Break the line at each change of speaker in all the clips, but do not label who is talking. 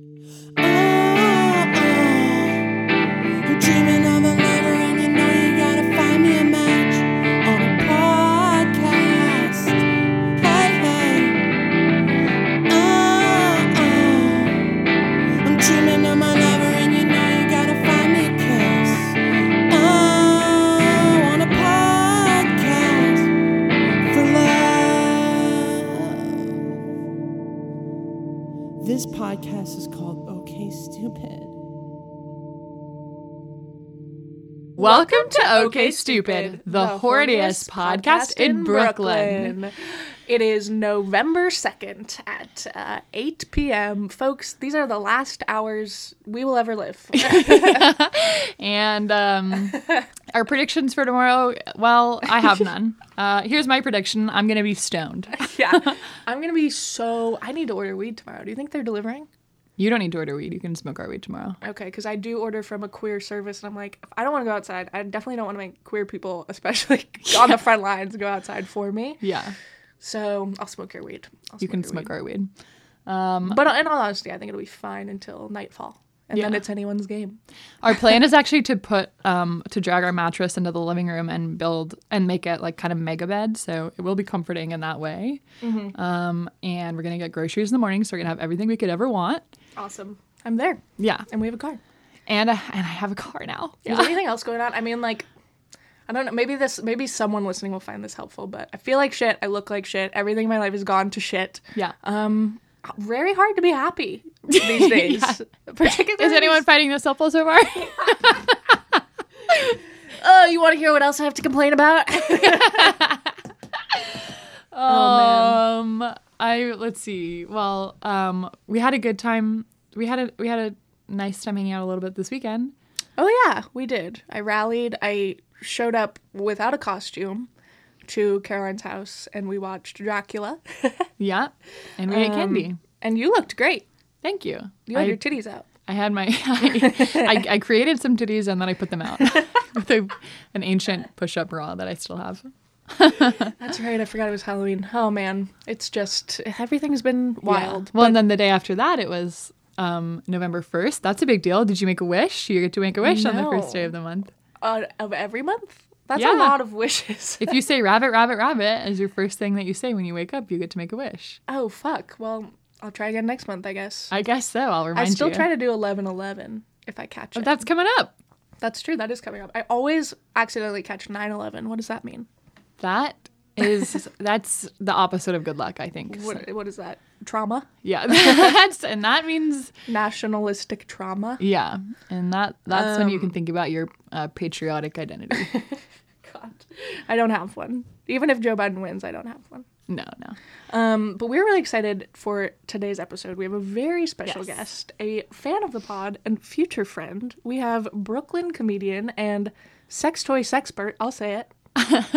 Oh, oh, you're dreaming of a lover and you know you gotta find me a match on a podcast. Hey, hey. Oh, oh, I'm dreaming of my lover and you know you gotta find me a kiss. Oh, on a podcast for love. This podcast is called Okay Stupid.
Welcome to OK Stupid, the horniest podcast in Brooklyn.
It is November 2nd at uh, 8 p.m. Folks, these are the last hours we will ever live.
And um, our predictions for tomorrow, well, I have none. Uh, here's my prediction I'm going to be stoned.
yeah. I'm going to be so. I need to order weed tomorrow. Do you think they're delivering?
You don't need to order weed. You can smoke our weed tomorrow.
Okay, because I do order from a queer service, and I'm like, I don't want to go outside. I definitely don't want to make queer people, especially on the front lines, go outside for me.
Yeah,
So I'll smoke your weed. I'll
you can
your
smoke
weed.
our weed.
But in all honesty, I think it'll be fine until nightfall. And then
Yeah.
it's anyone's game.
Our plan is actually to put, um, to drag our mattress into the living room and build and make it like kind of mega bed. So it will be comforting in that way.
Mm-hmm.
Um, and we're going to get groceries in the morning. So we're going to have everything we could ever want.
Awesome. I'm there.
Yeah.
And we have a car.
And, I- and I have a car now.
Is there anything else going on? I mean, like, I don't know. Maybe this, maybe someone listening will find this helpful, but I feel like shit. I look like shit. Everything in my life is gone to shit.
Yeah.
Um, very hard to be happy these days. Particularly.
Is anyone fighting this helpful so far?
Oh, you want to hear what else I have to complain about? Oh,
Um, I let's see. Well, um, we had a good time. We had a we had a nice time hanging out a little bit this weekend.
oh yeah, we did. I rallied. I showed up without a costume to Caroline's house, and we watched Dracula.
Yeah, and
Um,
we ate candy.
and you looked great.
Thank you.
You
I,
had your titties out.
I had my I, I created some titties and then I put them out with a, an ancient push up bra that I still have.
That's right. I forgot it was Halloween. Oh man, it's just everything's been wild.
Yeah. Well, and then the day after that, it was um, November first. That's a big deal. Did you make a wish? You get to make a wish on the first day
No.
of the month.
Uh, of every month, that's
Yeah.
a lot of wishes.
If you say rabbit, rabbit, rabbit as your first thing that you say when you wake up, you get to make a wish.
oh fuck. Well, I'll try again next month, I guess.
I guess so. I'll
I
remind
still
you.
try to do eleven eleven if I catch it.
But that's coming up.
That's true. That is coming up. I always accidentally catch 9/11. What does that mean?
That is that's the opposite of good luck, I think. So-
What what is that? Trauma?
yeah, that's and that means
Nationalistic trauma?
yeah, and that that's when you
Um,
can think about your uh, patriotic identity.
God. I don't have one. Even if Joe Biden wins, I don't have one.
No, no.
Um, but we're really excited for today's episode. We have a very special
Yes.
guest, a fan of the pod and future friend. We have Brooklyn comedian and sex toy sexpert, I'll say it,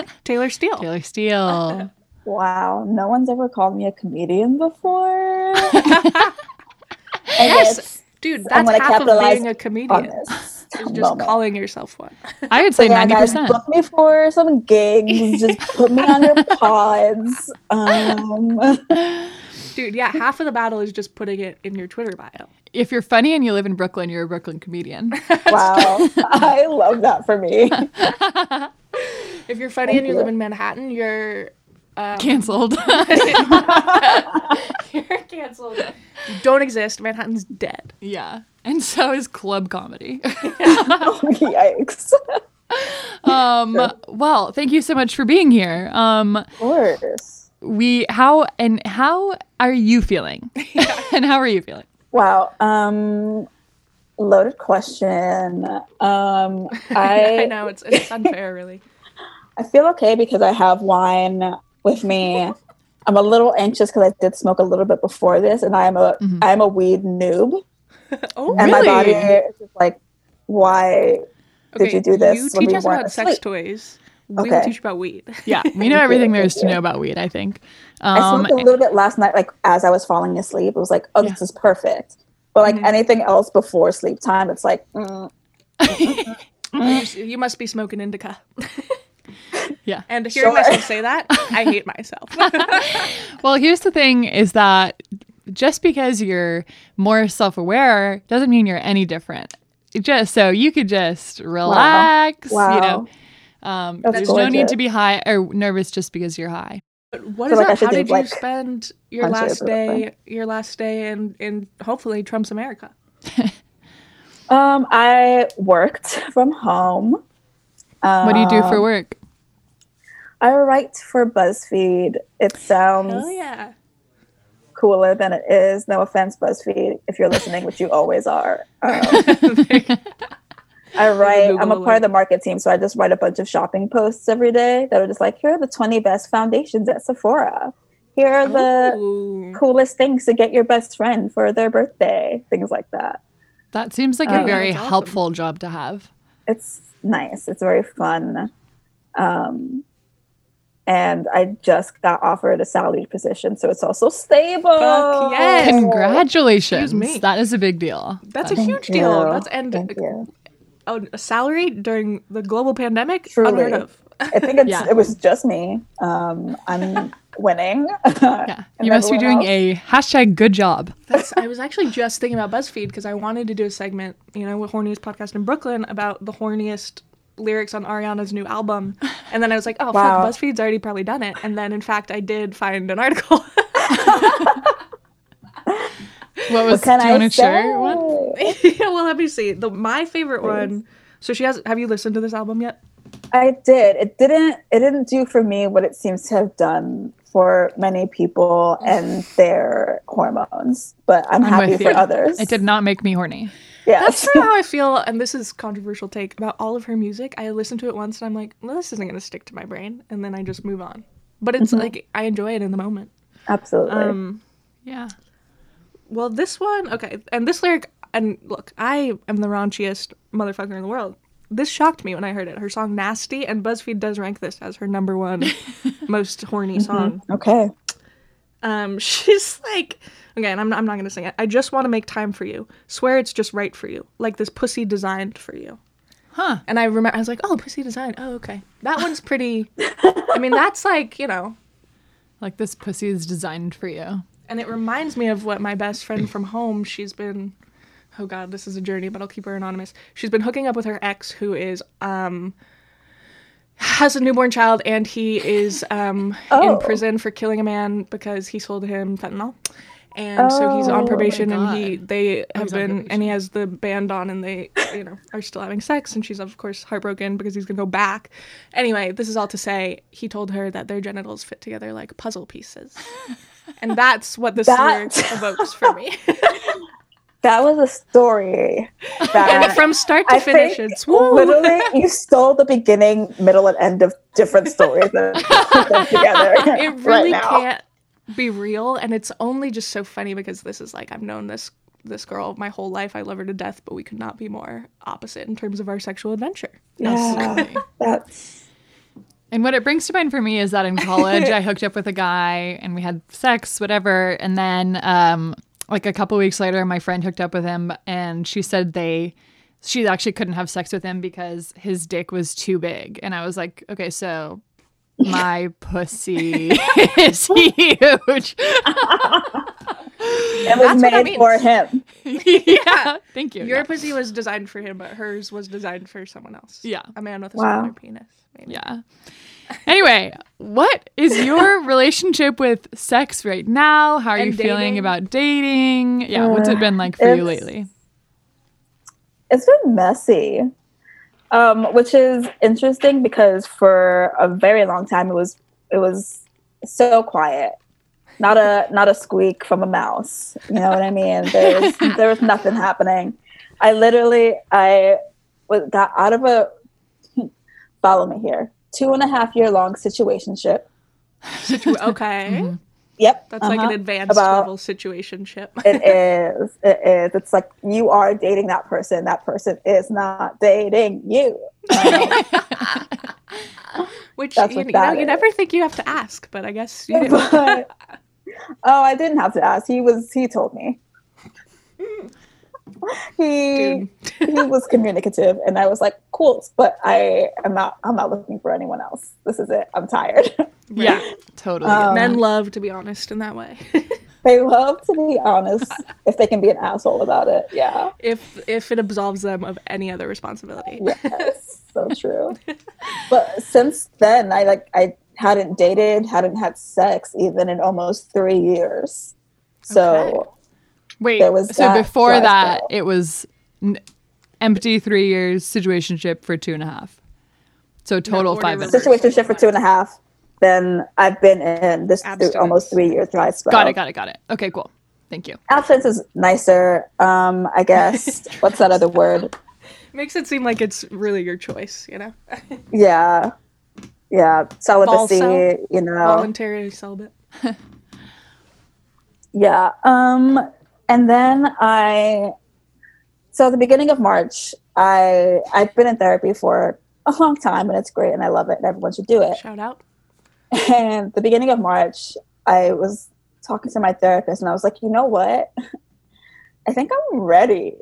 Taylor Steele.
Taylor Steele.
Wow, no one's ever called me a comedian before. yes,
Dude,
I'm
that's
gonna
half of
capitalize
being a
on
comedian.
this
Is just
moment.
calling yourself one.
I would
So
say
yeah,
ninety
guys,
percent.
book me for some gigs. Just put me on your pods. Um,
Dude, yeah, half of the battle is just putting it in your Twitter bio.
If you're funny and you live in Brooklyn, you're a Brooklyn comedian.
wow, I love that for me.
If you're funny and you live in Manhattan, you're
Cancelled.
you're canceled. You don't exist. Manhattan's dead.
yeah. And so is club comedy.
Yikes! Of
Um, well, thank you so much for being here. Um,
course.
we how and how are you feeling and how are you feeling
Wow. Um, loaded question. Um,
I
I
know it's it's unfair, really.
I feel okay because I have wine with me. I'm a little anxious because I did smoke a little bit before this, and I'm a
Mhm.
am a weed noob,
Oh,
and my body
Really?
is just like, why? did you do this
You
when
teach
we
us
weren't
about sex
asleep?
toys. We will
Okay.
teach you about weed.
yeah we know
Thank
everything
you,
there is
thank
to
you.
know about weed i think
I
um
smoked a little bit last night, like as I was falling asleep. It was like, oh, this is perfect. But like
Mhm.
Mm-hmm.
anything else before sleep time, it's like, mm,
You s- you must be smoking indica.
Yeah.
And hearing
Sure.
myself say that, I hate myself.
well here's the thing is that just because you're more self aware doesn't mean you're any different. It just so you could just relax, you
Wow.
know. Um,
That's
there's no need
gorgeous.
to be high or nervous just because you're high.
But what
So,
is
like, I
up?
should
How
do,
did
like,
you spend your
punch it
last
over the
day? Your last day in in hopefully Trump's America.
Um, I worked from home. Um,
What do you do for work?
I write for BuzzFeed. It sounds
Oh yeah.
cooler than it is. No offense, BuzzFeed, if you're listening, which you always are. Um, I write. I'm a
Google
part of the market team, so I just write a bunch of shopping posts every day that are just like, here are the 20 best foundations at Sephora. Here
Oh.
are the
Ooh.
coolest things to get your best friend for their birthday. Things like that.
That seems like a
Oh,
very
that's awesome.
helpful job to have.
It's nice. It's very fun. Um, and I just got offered a salaried position, so it's also stable.
Fuck yes.
Congratulations.
Excuse me.
That is a big deal.
That's a
That-
huge deal.
you.
That's and
Thank you.
a, a salary during the global pandemic
Truly.
unheard of.
I think it's,
Yeah.
it was just me. Um, I'm winning.
yeah.
And
You must be
everyone
doing a hashtag good job.
That's, I was actually just thinking about BuzzFeed because I wanted to do a segment, you know, with Horniest Podcast in Brooklyn about the horniest lyrics on Ariana's new album. And then I was like, oh,
Wow.
fuck, BuzzFeed's already probably done it. And then, in fact, I did find an article.
What was
Can
do you
I
want to
say?
share one?
yeah, well, let me see. The, my favorite one. So she has, have you listened to this album yet?
I did. It didn't. It didn't do for me what it seems to have done for many people and their hormones. But I'm, happy
with
for
you.
others.
It did not make me horny.
Yes.
That's how I feel, and this is controversial take about all of her music. I listen to it once and I'm like, well, this isn't going to stick to my brain. And then I just move on. But it's like, I enjoy it in the moment.
Absolutely.
Um,
Yeah.
Well, this one, okay, and this lyric, and look, I am the raunchiest motherfucker in the world. This shocked me when I heard it. Her song "Nasty" and BuzzFeed does rank this as her number one most horny song.
okay.
Um, she's like, okay, and I'm I'm not gonna sing it. I just want to make time for you. Swear it's just right for you. Like this pussy designed for you.
Huh.
And I remember I was like, oh, pussy designed. Oh, okay, that one's pretty. I mean, that's like you know.
Like this pussy is designed for you.
And it reminds me of what my best friend from home, she's been oh god, this is a journey, but I'll keep her anonymous. She's been hooking up with her ex who is um has a newborn child and he is um
Oh.
in prison for killing a man because he sold him fentanyl. And so he's
Oh.
on probation and he
God.
they have
he's on
been
probation.
and he has the band on and they you know are still having sex and she's of course heartbroken because he's going to go back. Anyway, this is all to say he told her that their genitals fit together like puzzle pieces. And that's what this
That-
lyric evokes for me.
That was a story. That
and from start to
I
finish,
think
it's woo.
literally you stole the beginning, middle, and end of different stories and put them together.
It really
right now.
can't be real, and it's only just so funny because this is like I've known this this girl my whole life. I love her to death, but we could not be more opposite in terms of our sexual adventure.
Yeah. That's
And what it brings to mind for me is that in college, I hooked up with a guy and we had sex, whatever. And then, um, like a couple weeks later, my friend hooked up with him and she said they, she actually couldn't have sex with him because his dick was too big. And I was like, okay, so my pussy is huge.
it
That's
was
what
made
I mean.
for him.
yeah. Thank you.
Your
Yeah.
pussy was designed for him, but hers was designed for someone else.
Yeah.
a man with a
Wow.
smaller penis. Maybe.
Yeah. Anyway, what is your relationship with sex right now? How are you
And
feeling
dating.
about dating? Yeah, what's it been like for you
it's-
lately?
It's been messy, um, which is interesting because for a very long time it was it was so quiet, not a not a squeak from a mouse. You know what I mean? There was, there was nothing happening. I literally I was, got out of a follow me here two and a half year long situationship.
Okay,
Mm-hmm.
Yep,
that's like
uh-huh.
an advanced
About-
level situation ship.
it is. It is. It's like you are dating that person. That person is not dating you. Um,
Which
That's
you,
what
you know,
that
you
is.
never think you have to ask, but I guess you do.
But- oh, I didn't have to ask. He was he told me. He
Dude.
he was communicative and I was like, cool, but I am not I'm not looking for anyone else. This is it. I'm tired.
Yeah, totally.
Um,
Men love to be honest in that way.
They love to be honest if they can be an asshole about it. Yeah.
if if it absolves them of any other responsibility.
Yes. so true. But since then I like I hadn't dated, hadn't had sex even in almost three years. So
Wait,
There was
so
that
before
flash
that,
sale.
it was n- empty three years, situationship for two and a half. So total
order
five.
was-
and a half.
situationship for two and a half. Then I've been in this th-
Abstinence.
almost three year dry spell.
Got it, got it, got it. Okay, cool. Thank you.
Abstinence is nicer, um, I guess. What's that other word?
Makes it seem like it's really your choice, you know?
Yeah, yeah, celibacy.
Balsa?
You know,
Voluntary celibate.
Yeah. Um, and then I, so at the beginning of March, I I've been in therapy for a long time, and it's great, and I love it, and everyone should do it.
Shout out.
And the beginning of March, I was talking to my therapist, and I was like, you know what? I think I'm ready.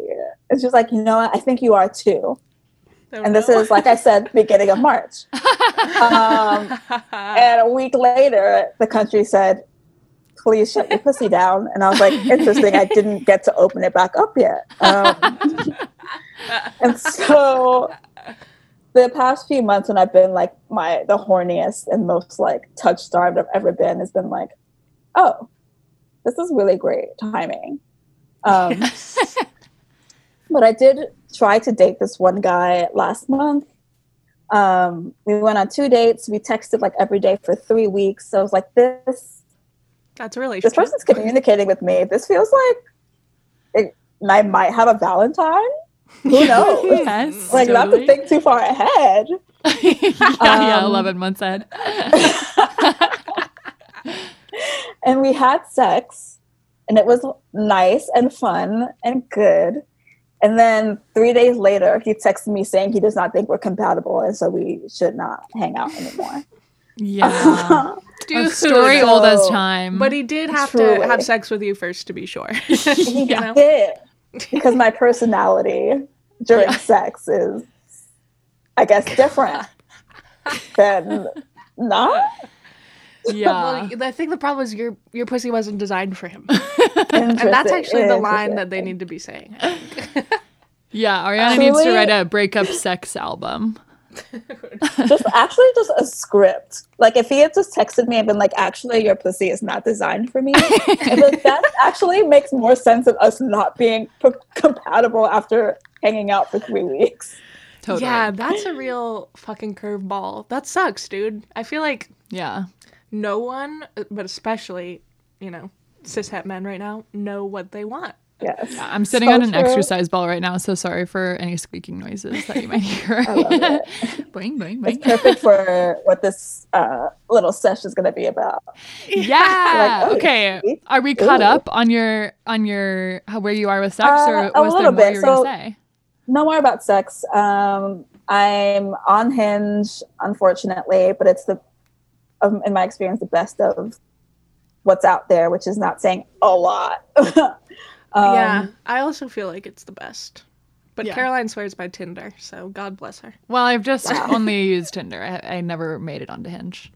And she was like, you know what? I think you are too.
Don't
And this
know.
is, like I said, beginning of March. Um, and a week later, the country said, "Please shut your pussy down." And I was like, "Interesting. I didn't get to open it back up yet." Um, and so, the past few months, when I've been like my the horniest and most like touch starved I've ever been, has been like, "Oh, this is really great timing." Um, but I did try to date this one guy last month. Um, we went on two dates. We texted like every day for three weeks. So I was like, this
That's a relationship.
this person's communicating with me. This feels like it, I might have a Valentine. Who knows?
Yes.
like not to
totally.
think too far ahead.
yeah, yeah,
Um,
11 months ahead.
and we had sex and it was nice and fun and good and then three days later he texted me saying he does not think we're compatible and so we should not hang out anymore
Yeah. A
Dude,
story old as
So-
time.
Mm-hmm.
But he did have to
Truly.
have sex with you first to be sure.
he
You know?
did because my personality during sex is i guess different than not
yeah.
Well, I think the problem is your your pussy wasn't designed for him.
Interesting,
And that's actually the line that they
interesting.
need to be saying.
Yeah, Ariana needs to
Truly-
write a breakup sex album.
just actually just a script. Like if he had just texted me and been like, actually your pussy is not designed for me, I'd be like, that actually makes more sense of us not being p- compatible after hanging out for three weeks.
Totally.
Yeah,
Yeah.
that's a real fucking curveball. That sucks, dude. I feel like no one, uh, but especially, you know, cishet men right now know what they want.
Yes.
I'm sitting
So
on an
true.
exercise ball right now, so sorry for any squeaking noises that you might hear.
love it.
boing, boing,
It's
boing.
perfect for what this uh, little session is going to be about.
Yeah.
Like, oh,
okay.
sweet.
Are we caught
Ooh.
up on your on your how, where you are with sex,
Uh,
or
a
was there
little
more
bit.
you were gonna
So-
say?
No more about sex. Um, I'm on Hinge, unfortunately, but it's the, um, in my experience, the best of what's out there, which is not saying a lot. Um,
yeah, I also feel like it's the best. But
Yeah.
Caroline swears by Tinder, so God bless her.
Well, I've just only used Tinder. I, I never made it onto Hinge.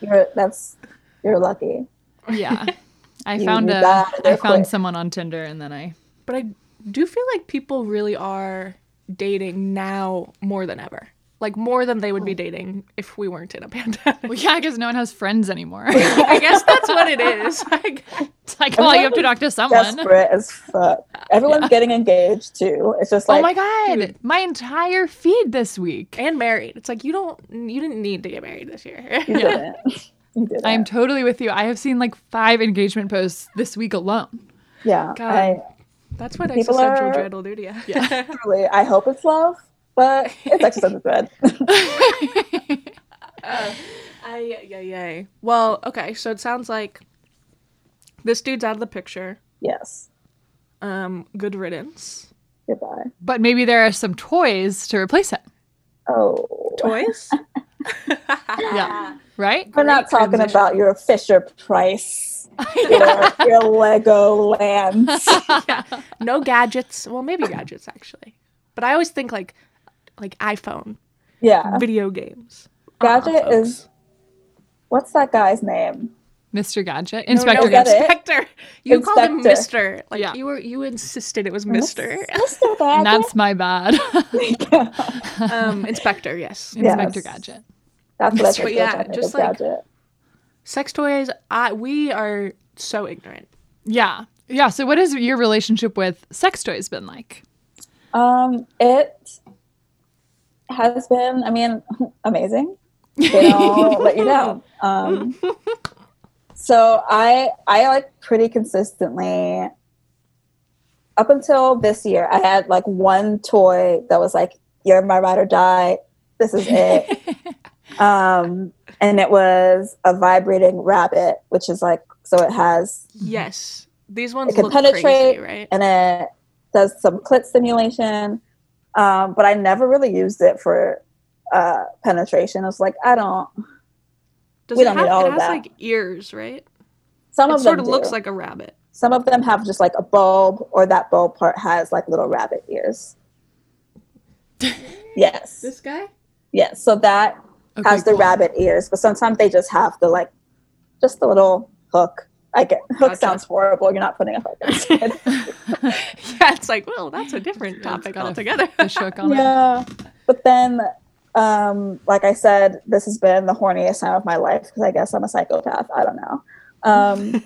You're that's you're lucky.
Yeah. I
You-
found
you
a,
got it
I found
quick.
someone on Tinder and then I
But I do feel like people really are dating now more than ever. Like more than they would
Oh.
be dating if we weren't in a pandemic.
well, yeah, I guess no one has friends anymore.
I guess that's what it is. Like,
it's like, well, you have to talk to someone.
Desperate as fuck. Everyone's getting engaged too. It's just like
oh my god, my entire feed this week.
and married. It's like you don't you didn't need to get married this year.
you didn't. you didn't.
I am totally with you. I have seen like five engagement posts this week alone.
yeah.
God.
I
That's what
People
existential
are-
dread will do to you.
really I hope it's love, but it's exercise with bread.
Ay, ay, ay, ay. Well, okay, so it sounds like this dude's out of the picture.
yes.
Um, good riddance.
Goodbye.
But maybe there are some toys to replace it.
Oh.
Toys?
Yeah. Right?
We're not
Great
talking
transition.
about your Fisher Price. your, your Lego lands.
no gadgets. Well, maybe gadgets actually. But I always think like like iPhone,
Yeah.
video games.
Gadget
folks.
is what's that guy's name?
Mr. Gadget,
No, no,
Inspector
no,
Gadget.
it?
Inspector. You called him Mister. Like
Yeah.
you were, you insisted it was Mister.
Mr.
And
Gadget.
that's my bad.
That's,
um, Inspector. Yes.
Inspector
Yes.
Gadget.
that's what I
That's
think
what- yeah,
of when I
just
think of
like-
Gadget.
Sex toys. I, we are so ignorant.
Yeah. Yeah. So, what has your relationship with sex toys been like?
Um, it has been, I mean, amazing. They all let you know. Um, so I, I like pretty consistently up until this year, I had like one toy that was like, "You're my ride or die. This is it." um, and it was a vibrating rabbit, which is like, so it has
Yes. These ones
Mm-hmm. can
look
penetrate
crazy, right?
and it does some clit stimulation. Um, but I never really used it for uh, penetration. I was like, I don't.
Does
we
it
don't
have,
need all
it
of
has
that.
like ears, right?
Some
It
of them
sort of looks
do.
like a rabbit.
some of them have just like a bulb, or that bulb part has like little rabbit ears. yes,
guy?
yes. So that
Okay,
has the
cool.
rabbit ears, but sometimes they just have the like, just the little hook. I get hook
Gotcha.
sounds horrible. You're not putting a hook. in his head.
Yeah, it's like, well, that's a different
It's
topic
got a
altogether.
fish hook on it.
yeah but then um like i said this has been the horniest time of my life because i guess i'm a psychopath i don't know um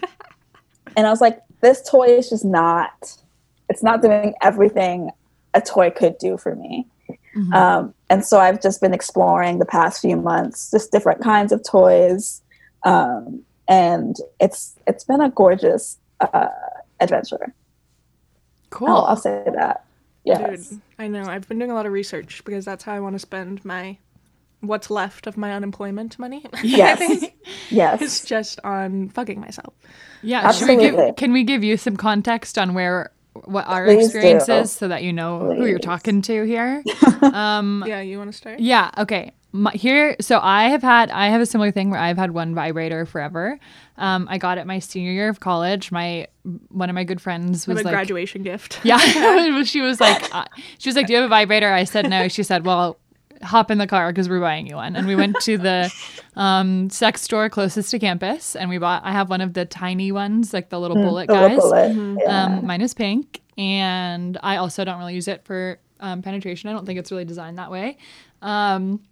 and i was like this toy is just not it's not doing everything a toy could do for me
Mm-hmm.
Mhm.
um, and so I've just been exploring the past few months, just different kinds of toys, um, and it's it's been a gorgeous uh, adventure.
Cool.
I'll, I'll say that. Oh, uh, Yes.
Dude, I know. I've been doing a lot of research because that's how I want to spend my what's left of my unemployment money. I
Yes.
think
yes.
it's just on fucking myself.
yeah. should we give-
absolutely.
can we give you some context on where what our
Please
experience
do.
is so that you know who you're
Please.
talking to here? um,
Yeah, you want to start?
Yeah. Okay. My, here, so I have had I have a similar thing where I've had one vibrator forever. Um, I got it my senior year of college. My one of my good friends
With
was
a
like,
graduation gift.
yeah, she was like, uh, she was like, do you have a vibrator? I said no. She said, well, hop in the car because we're buying you one. And we went to the um, sex store closest to campus, and we bought. I have one of the tiny ones, like Hmm, the little bullet
The
guys.
local it. Yeah.
Um, mine is pink, and I also don't really use it for um, penetration. I don't think it's really designed that way. Um,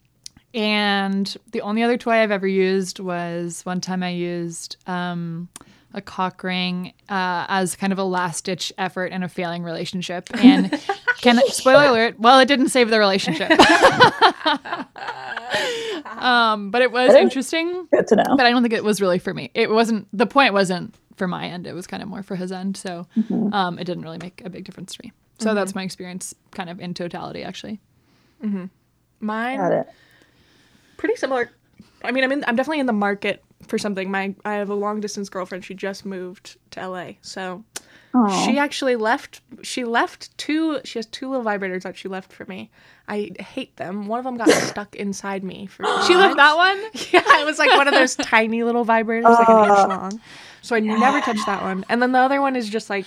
and the only other toy I've ever used was one time I used um, a cock ring uh, as kind of a last ditch effort in a failing relationship. And can spoiler alert? Well, it didn't save the relationship. um, but it was interesting
Good to know.
but I don't think it was really for me. It wasn't the point wasn't for my end. It was kind of more for his end. So
Mm-hmm.
um, it didn't really make a big difference to me. So that's my experience, kind of in totality, actually.
Got
Mine,
it.
pretty similar. I mean, I'm, in, I'm definitely in the market for something. My I have a long distance girlfriend. She just moved to LA. So
Aw.
She actually left. She left two. She has two little vibrators that she left for me. I hate them. One of them got stuck inside me. For
She left that one.
Yeah, it was like one of those tiny little vibrators, like an inch long. So I never touched that one. And then the other one is just like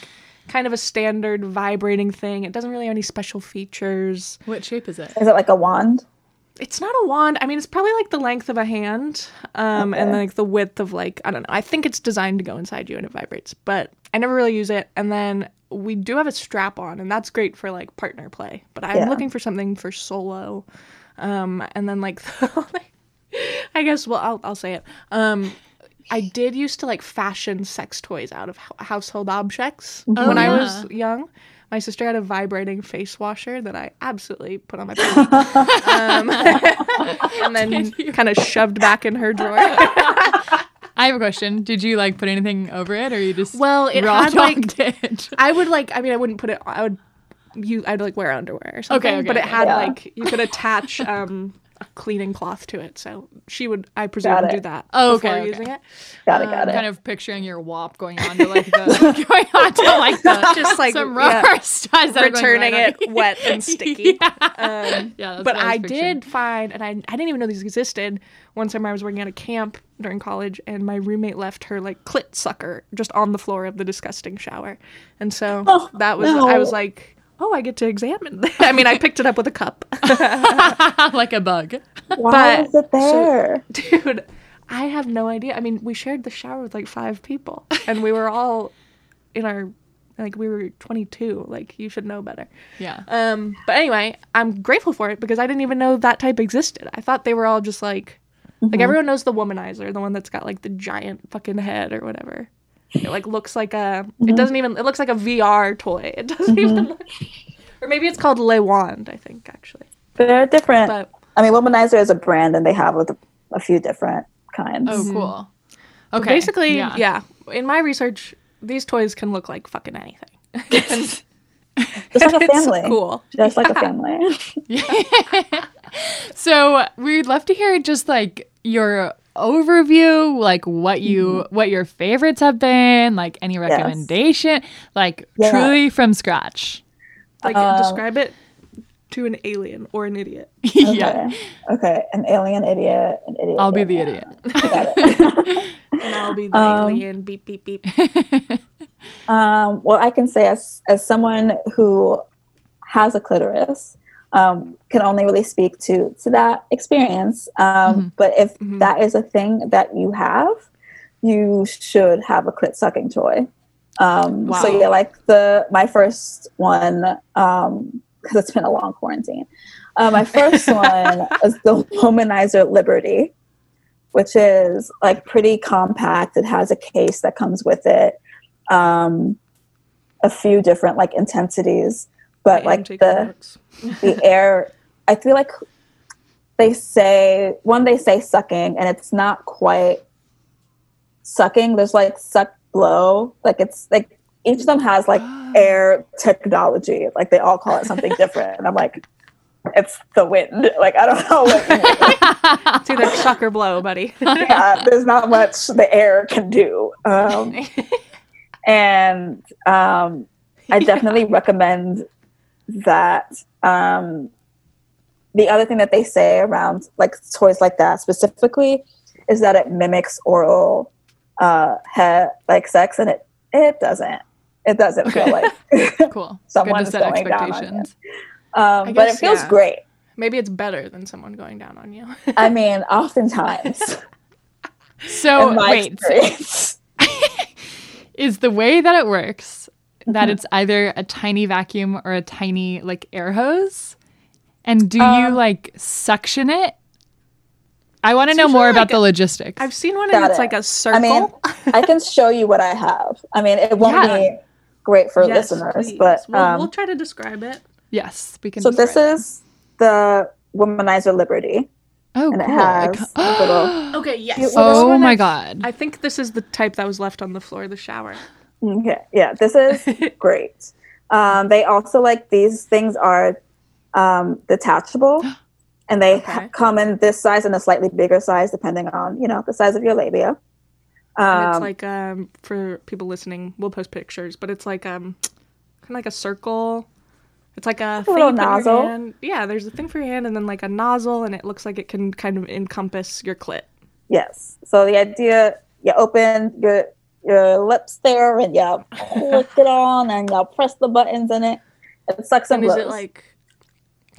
kind of a standard vibrating thing. It doesn't really have any special features.
What shape is it?
Is it like a wand?
It's not a wand. I mean, it's probably like the length of a hand, um, and
Okay.
like the width of like I don't know. I think it's designed to go inside you and it vibrates, but I never really use it. And then we do have a strap on, and that's great for like partner play. But I'm
Yeah.
looking for something for solo, um, and then like, I guess well I'll I'll say it. Um, I did used to like fashion sex toys out of ho- household objects
Oh,
when I
yeah.
was young. My sister had a vibrating face washer that I absolutely put on my body um, and then kind of shoved back in her drawer.
I have a question. Did you like put anything over it, or you just
Well, it
raw
had, like-
dogged it?
I would like. I mean, I wouldn't put it. I would. You, I'd like wear underwear or something.
Okay, okay,
but it
okay.
had
Yeah.
like you could attach um, a cleaning cloth to it, so she would. I presume
Got it.
do that
Oh,
before
okay, okay.
using it.
Got it.
I'm
Got it.
Um, kind of picturing your wop going on to like the going on to like the
Just like
some
yeah,
rubber studs that are going
returning
right
it
on-
wet and sticky.
Yeah.
Um,
Yeah, that's what
but I,
was picturing.
did find, and I, I didn't even know these existed. One summer I was working at a camp during college, and my roommate left her like clit sucker just on the floor of the disgusting shower, and so
Oh,
that was
no.
I was like, oh, I get to examine. that." I mean, I picked it up with a cup,
like a bug.
Why
but-
is it there?
dude. I have no idea. I mean, we shared the shower with like five people, and we were all in our like we were 22. Like you should know better.
Yeah.
Um, but anyway, I'm grateful for it because I didn't even know that type existed. I thought they were all just like,
Mm-hmm.
like everyone knows the womanizer, the one that's got like the giant fucking head or whatever. It like looks like a.
Mm-hmm.
It doesn't even. It looks like a VR toy. It doesn't even. Look, or maybe it's called Le Wand. I think actually.
They're different.
But
I mean, Womanizer is a brand, and they have a, a few different kinds.
Oh, cool. Okay.
Mm-hmm. basically, yeah. In my research, these toys can look like fucking anything. and
Just like a
it's
family.
cool.
Just like a family.
So we'd love to hear just like your overview, like what you
Mm-hmm.
what your favorites have been, like any recommendation, like
Yeah.
truly from scratch.
Like
Uh,
describe it to an alien or an idiot.
yeah.
Okay. Okay. An alien idiot. An idiot.
I'll be the idiot.
Got it.
And I'll be the
Um,
alien. Beep beep beep.
um, well, I can say as as someone who has a clitoris, um, can only really speak to to that experience. Um, But if
Mhm.
that is a thing that you have, you should have a clit sucking toy. Um, So
Wow.
yeah, like the my first one um, because it's been a long quarantine. Uh, my first one is the Womanizer Liberty, which is like pretty compact. It has a case that comes with it, um, a few different like intensities,
I
but
am
like
taking
the
notes.
the air. I feel like they say one they say sucking, and it's not quite sucking. There's like suck blow, like it's like each of them has like air technology. Like they all call it something different, and I'm like. It's the wind. Like I don't know what
It's either suck or blow, buddy.
yeah, there's not much the air can do. Um, and um, I definitely recommend that. Um, the other thing that they say around like toys like that specifically is that it mimics oral uh, he- like sex, and it it doesn't. It doesn't feel like,
Cool.
Someone's
Good to set
going down on
expectations.
um, but it
guess,
feels
yeah.
great.
Maybe it's better than someone going down on you.
I mean, oftentimes,
So
Oh,
in my
wait, so
experience,
is the way that it works
Mm-hmm.
that it's either a tiny vacuum or a tiny like air hose? And do you
Um,
like suction it? I want to know
usually,
more about
like,
the logistics.
I've seen one
Got
and it's
it.
like a circle.
I mean, I can show you what I have. I mean, it won't
Yeah.
be great for
Yes,
listeners,
please.
but
we'll,
um,
we'll try to describe it.
yes, we can.
so this
describe it.
is the Womanizer Liberty,
oh,
and it
cool. I
has
ca-
a little.
Okay, yes.
You- Well, this
Oh
one
my
I-
god.
I think this is the type that was left on the floor of the shower. Mm-hmm.
Okay, yeah, this is great. Um, they also like these things are um, detachable, and they ha-
Okay.
come in this size and a slightly bigger size, depending on you know the size of your labia.
And it's
Um,
like um for people listening, we'll post pictures, but it's like um kind of like a circle. It's like a, thing
little
you put in your
nozzle.
hand. Yeah, there's a thing for your hand and then like a nozzle and it looks like it can kind of encompass your clit.
Yes. So the idea, you open your your lips there, and you click it on, and you press the buttons in it. It sucks and
And
blows.
is it like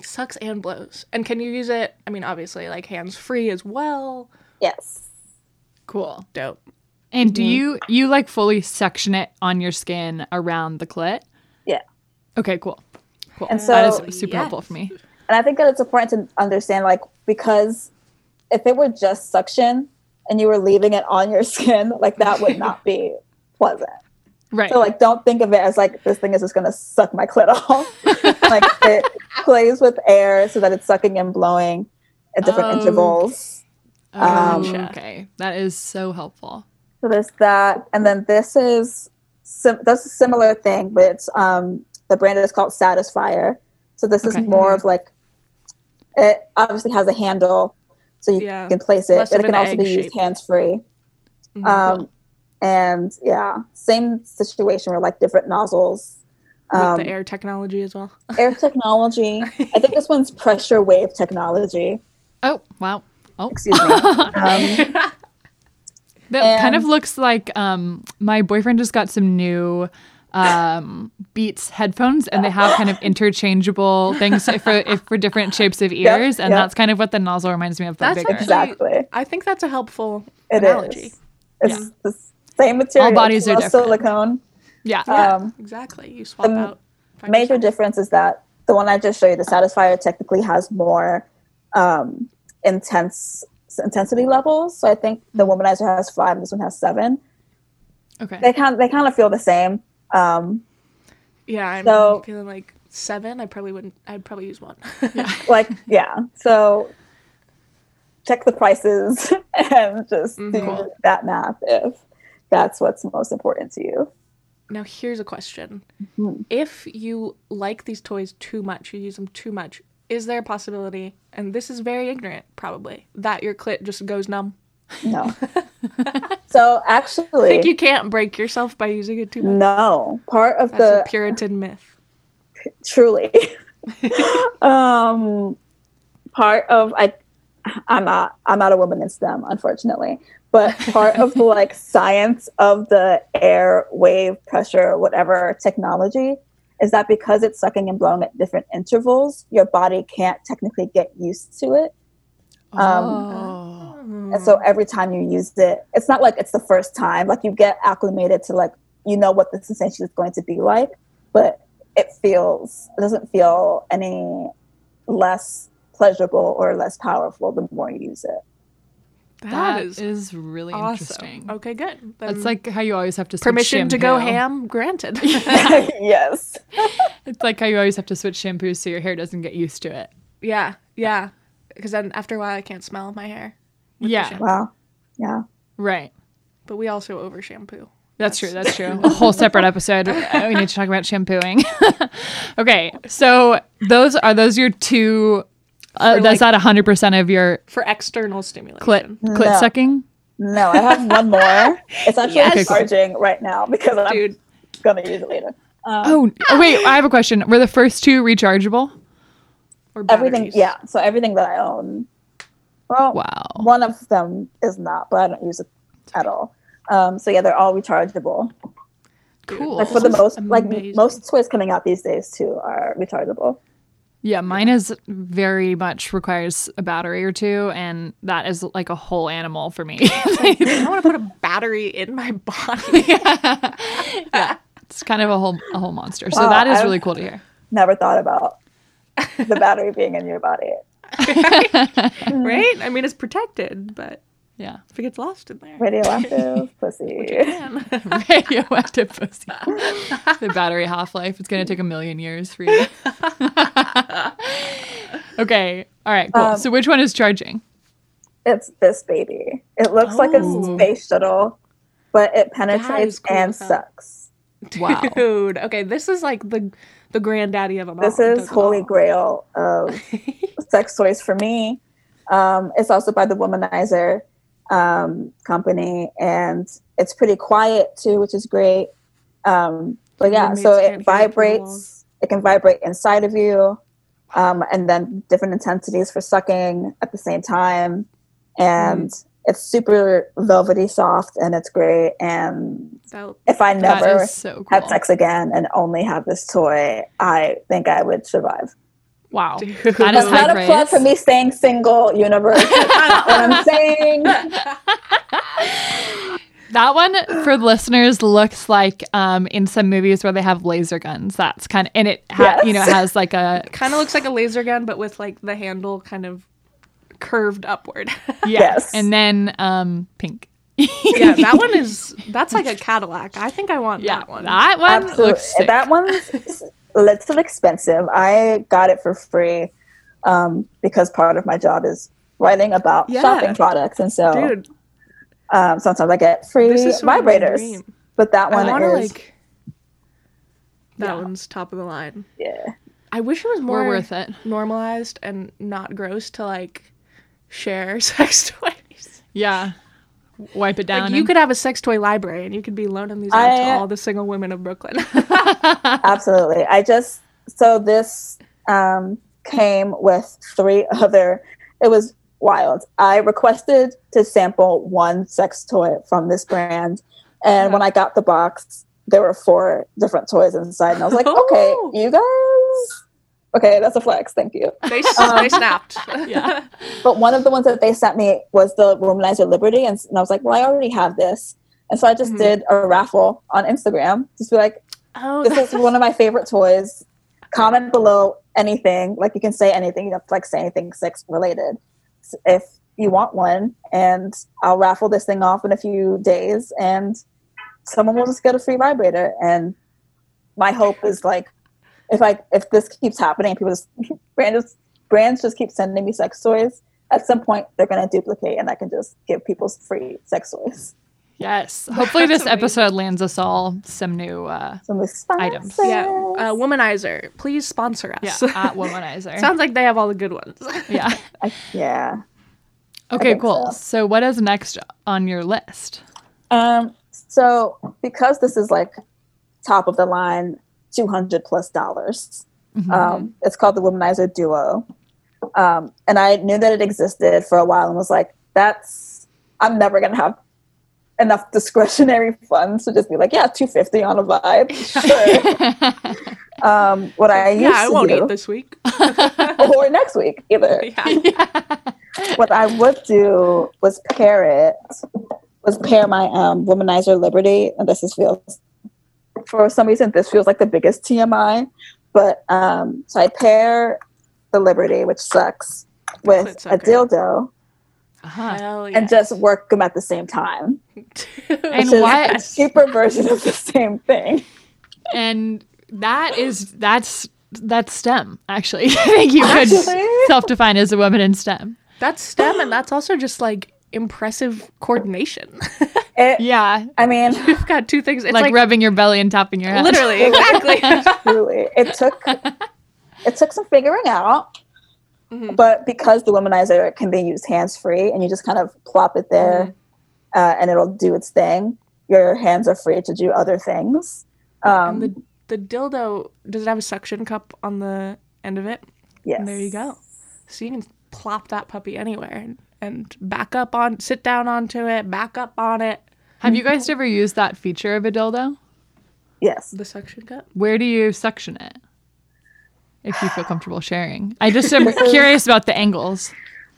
sucks and blows? And can you use it? I mean, obviously, like hands free as well.
yes.
Cool.
Dope.
And
Mm-hmm.
do you you like fully section it on your skin around the clit?
Yeah.
Okay, cool. Cool.
And
that
so-
is super helpful for me.
And I think that it's important to understand, like, because if it were just suction and you were leaving it on your skin, like that would not be pleasant.
Right.
So like, don't think of it as like this thing is just gonna suck my clit off. like it plays with air so that it's sucking and blowing at different
Um,
Oh.
intervals.
Oh,
um,
Gotcha.
okay. That is so helpful.
So there's that, and then this is sim- that's a similar thing, but it's um, the brand is called Satisfier. So this
Okay.
is more
Mm-hmm.
of like it obviously has a handle, so you
Yeah.
can place it,
Less
but
of
it can
an
also be
egg
used
shape.
hands free.
Mhm.
Um, and yeah, same situation where like different nozzles. Um,
With the air technology as well.
air technology. I think this one's pressure wave technology.
Oh, wow. Oh.
Excuse me. Um,
That kind of
And-
looks like um my boyfriend just got some new um, Beats headphones, and they have kind of interchangeable things for if for different shapes of
Yep,
ears, and
yep.
that's kind of what the nozzle reminds me of. But
That's
bigger.
actually-
Exactly.
I think that's a helpful
It is.
analogy.
It's the same material.
bodies are
no
different.
silicone.
yeah.
Yeah,
Um,
exactly. You swap
the
out. five
Major
percent.
difference is that the one I just showed you, the Satisfier, technically has more um, intense intensity levels. So I think the Womanizer has five, this one has seven.
Okay.
They kind they kind of feel the same. Um,
Yeah, I'm
So-
feeling like seven. I probably wouldn't. I'd probably use one.
like yeah so check the prices and just do
Mhm.
that math if that's what's most important to you
now here's a question:
Mhm.
If you like these toys too much, you use them too much, is there a possibility? And this is very ignorant, probably, that your clit just goes numb.
no so
I think
actually
you can't break yourself by using it too much.
no part of
That's
Mm. the
a Puritan myth.
truly um part of i i'm not i'm not a woman in stem unfortunately but part of the like science of the air wave pressure whatever technology is that because it's sucking and blowing at different intervals your body can't technically get used to it
Um,
oh.
and so every time you use it it's not like it's the first time like you get acclimated to like you know what the sensation is going to be like but it feels it doesn't feel any less pleasurable or less powerful the more you use it
that
that is,
is,
really
awesome.
interesting.
Okay, good. Then
It's like how you always have to switch
permission to go
shampoo.
ham granted.
yes
It's like how you always have to switch shampoos so your hair doesn't get used to it.
yeah, yeah. Because then after a while, I can't smell my hair.
Yeah.
wow yeah
Right.
But we also over shampoo.
That's true. That's true. A whole separate episode. Uh, we need to talk about shampooing. okay. So those are those your two. Uh,
For,
that's
like-
not hundred percent of your
for external stimulation.
clit clit
No.
sucking.
no i have one more it's actually
Yes.
Okay, cool.
charging right now because i'm
Dude,
gonna use it later
Oh, oh, wait, I have a question. Were the first two rechargeable?
or batteries.
everything yeah so everything that i own well
Wow.
one of them is not but i don't use it at all um, so yeah they're all rechargeable
Cool.
Like for the
Oh, This is
most,
amazing.
like most toys coming out these days too are rechargeable.
Yeah, mine is very much requires a battery or two, and that is like a whole animal for me.
I don't want to put a battery in my body.
it's kind of a whole a whole monster. So
Wow,
that is
I've-
really cool to hear.
Never thought about the battery being in your body.
right? I mean, it's protected, but
Yeah,
if it gets lost in there.
Radioactive pussy.
Man.
radioactive pussy. the battery half life. It's gonna take a million years for you. okay. All right. Cool.
Um,
so which one is charging?
It's this baby. It looks like
Oh.
a space shuttle, but it penetrates
is cool
and
as hell.
sucks.
Wow.
Dude, okay, this is like the the granddaddy of them all.
This
It
is
does it
holy
all.
grail of sex toys for me. Um, it's also by the Womanizer um, company, and it's pretty quiet too, which is great. Um, but
Your
yeah, so
roommates can't hear
it
it through the walls.
vibrates. It can vibrate inside of you, um, and then different intensities for sucking at the same time. And
Mm-hmm.
it's super velvety soft, and it's great. And
So,
if I never
that is so cool.
have sex again and only have this toy, I think I would survive.
Wow.
Dude.
That is
That's
high
not a plug
praise.
for me staying single, universe. That's not what I'm saying.
That one for the listeners looks like um, in some movies where they have laser guns. That's kind of and it ha- you know
Yes.
it has like a
kind of looks like a laser gun, but with like the handle kind of curved upward.
yeah,
Yes.
and then um, pink.
yeah, that one is that's like a Cadillac. I think I want
Yeah,
that one.
that one
Absolutely.
looks sick.
That one's a little expensive. I got it for free um, because part of my job is writing about
Yeah.
shopping products. And so
Dude,
um, sometimes I get free
this is sort of my
vibrators.
dream.
But that
I
one
want to
is,
like. That one's top of the line.
yeah.
I wish it was more
More worth it.
normalized and not gross to like share sex toys.
Yeah. Wipe it down.
Like you
and-
could have a sex toy library and you could be loaning these out to
I-
all the single women of Brooklyn.
Absolutely. I just so this um, came with three other. It was wild. I requested to sample one sex toy from this brand, and when I got the box, there were four different toys inside, and I was like, okay,
Oh.
you guys. Okay, that's a flex. Thank you.
They, s- they snapped.
Yeah.
But one of the ones that they sent me was the Womanizer Liberty, and, s- and I was like, well, I already have this, and so I just
Mhm.
did a raffle on Instagram. Just be like,
Oh,
this is one of my favorite toys. Comment below anything. Like you can say anything. You don't have to like say anything sex related. S- If you want one, and I'll raffle this thing off in a few days, and someone will just get a free vibrator. And my hope is like, if I if this keeps happening, people just brands just, brands just keep sending me sex toys. At some point, they're gonna duplicate, and I can just give people free sex toys.
yes. Hopefully, this
That's amazing.
episode lands us all some new. Uh,
Some
Items.
Yeah. Uh, womanizer, please sponsor
yeah,
us.
at Womanizer.
Sounds like they have all the good ones.
yeah.
I, yeah.
Okay,
think
cool. So.
so.
what is next on your list?
Um, so because this is like top of the line, two hundred plus dollars.
Mm-hmm.
Um, it's called the Womanizer Duo, um, and I knew that it existed for a while and was like, "That's I'm never gonna have enough discretionary funds to just be like, yeah, two fifty on a vibe." Sure. um, what I used
yeah, I
to
won't
do,
eat this week.
or next week either
yeah.
what I would do was pair it, was pair my um, Womanizer Liberty, and this is feels, for some reason, this feels like the biggest TMI. But um, so I pair the Liberty, which sucks,
Clit
with a
sucker.
dildo
Uh-huh.
Hell
and just work them at the same time.
And
which is
what-
a cheaper version of the same thing.
And that is that's that's STEM actually. I think you could
Actually?
self-define as a woman in STEM.
That's STEM, and that's also just like impressive coordination.
It,
Yeah,
I mean,
You've got two things. It's
like, Um,
like,
rubbing your belly and tapping your head.
literally, exactly.
truly, it took it took some figuring out.
Mhm.
but because the womanizer can be used hands free and you just kind of plop it there
Mm-hmm.
uh, and it'll do its thing your hands are free to do other things
And
um,
the the dildo does it have a suction cup on the end of it?
yes.
And there you go. So you can plop that puppy anywhere and, and back up on, sit down onto it, back up on it.
Have you guys ever used that feature of a dildo?
yes
The suction cup.
Where do you suction it? If you feel comfortable sharing, I just am curious about the angles.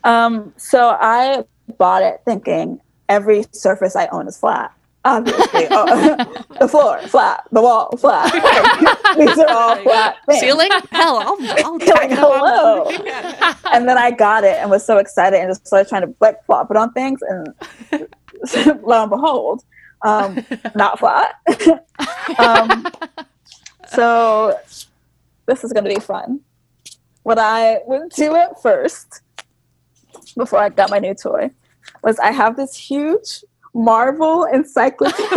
um, so i bought it thinking every surface i own is flat obviously oh, the floor flat the wall flat these are all flat things.
Ceiling? Hell, I'll, I'll
Like,
tack it up on-
hello. and then I got it and was so excited and just started trying to like flop it on things and lo and behold, um, not flat. um, so this is gonna be fun. What I would do at first before I got my new toy was I have this huge Marvel encyclopedia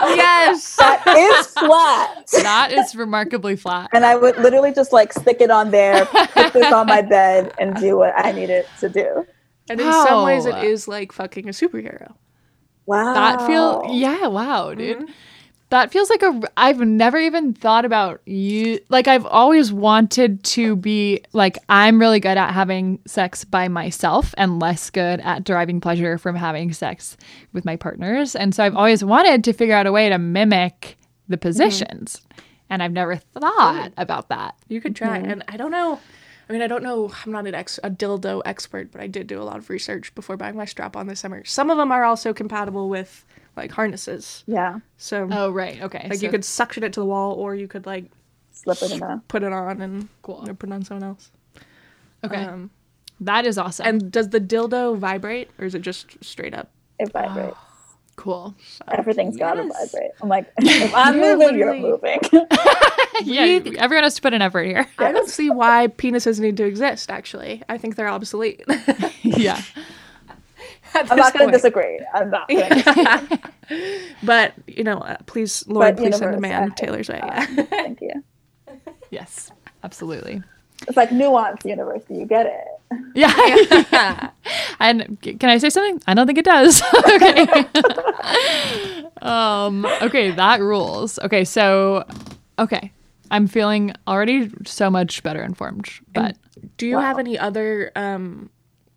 Yes.
that is flat.
That is remarkably flat.
and I would literally just like stick it on there, put this on my bed, and do what I needed to do.
And in some ways, it
Wow.
is like fucking a superhero.
Wow,
That feel
Oh.
e-, yeah, wow, dude.
Mm-hmm.
That feels like a I've never even thought about you like I've always wanted to be like I'm really good at having sex by myself and less good at deriving pleasure from having sex with my partners. And so I've always wanted to figure out a way to mimic the
Mm-hmm.
positions. And I've never thought about that.
You could try. And I don't know. I mean, I don't know. I'm not an ex- a dildo expert, but I did do a lot of research before buying my strap on this summer. Some of them are also compatible with like harnesses.
yeah.
So
Oh right. Okay.
like you
so-
could suction it to the wall, or you could like
Slip it in there.
put it on and
Cool.
or put it on someone else.
Okay.
Um,
that is awesome.
and does the dildo vibrate, or is it just straight up?
It vibrates.
cool.
Everything's gotta
yes.
vibrate. I'm like, if I'm
You're
moving, you're
literally-
moving.
yeah, everyone has to put an effort here.
I don't see why penises need to exist. Actually, I think they're obsolete.
yeah.
I'm not gonna
point.
disagree. I'm not. Gonna
but you know, uh, please, Lord,
But
please send a
universe,
man
I-
Taylor's way. Yeah.
Thank you.
Yes. Absolutely.
It's like nuance university. You get it.
Yeah. and c- can I say something? I don't think it does. okay. um, okay, that rules. Okay, so okay. I'm feeling already so much better informed. But
Do you have any other um,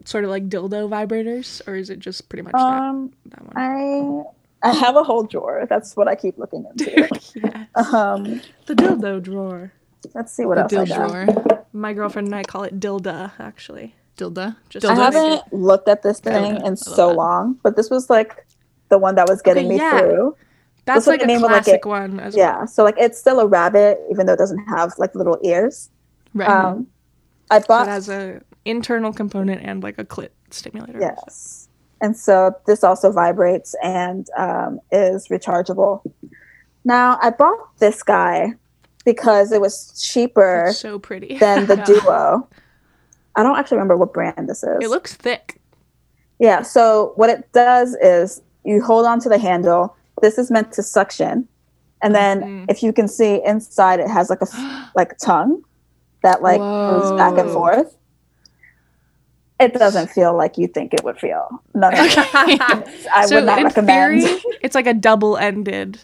sort of like dildo vibrators, or is it just pretty much
Um,
that, that one?
I I have a whole drawer. That's what I keep looking into.
yeah.
um,
The dildo drawer.
let's see what
The
else I
dill
got.
drawer.
My girlfriend and I call it dilda, actually.
Dilda.
Just-
I
Dildo
haven't looked at this
Dildo.
thing
I
in
love
so
that.
long, but this was like the one that was getting
Okay,
me
yeah.
through.
That's
what
like
the
a
name
classic
of, like, it-
one as well.
Yeah. So like it's still a rabbit, even though it doesn't have like little ears.
Right.
Um, I
But
bought
has a internal component and like a clit stimulator.
yes, and so this also vibrates and um, is rechargeable. Now I bought this guy because it was cheaper
It's so pretty.
than the
Yeah.
Duo. I don't actually remember what brand this is.
It looks thick.
Yeah. So what it does is you hold on to the handle. This is meant to suction, and then
Mm-hmm.
Mhm.
if you can see inside, it has like a f- like tongue that like moves back and
Whoa.
forth. It doesn't feel like you think it would feel. No, no, no. I
So
would not
in
recommend.
theory-
it's like a double-ended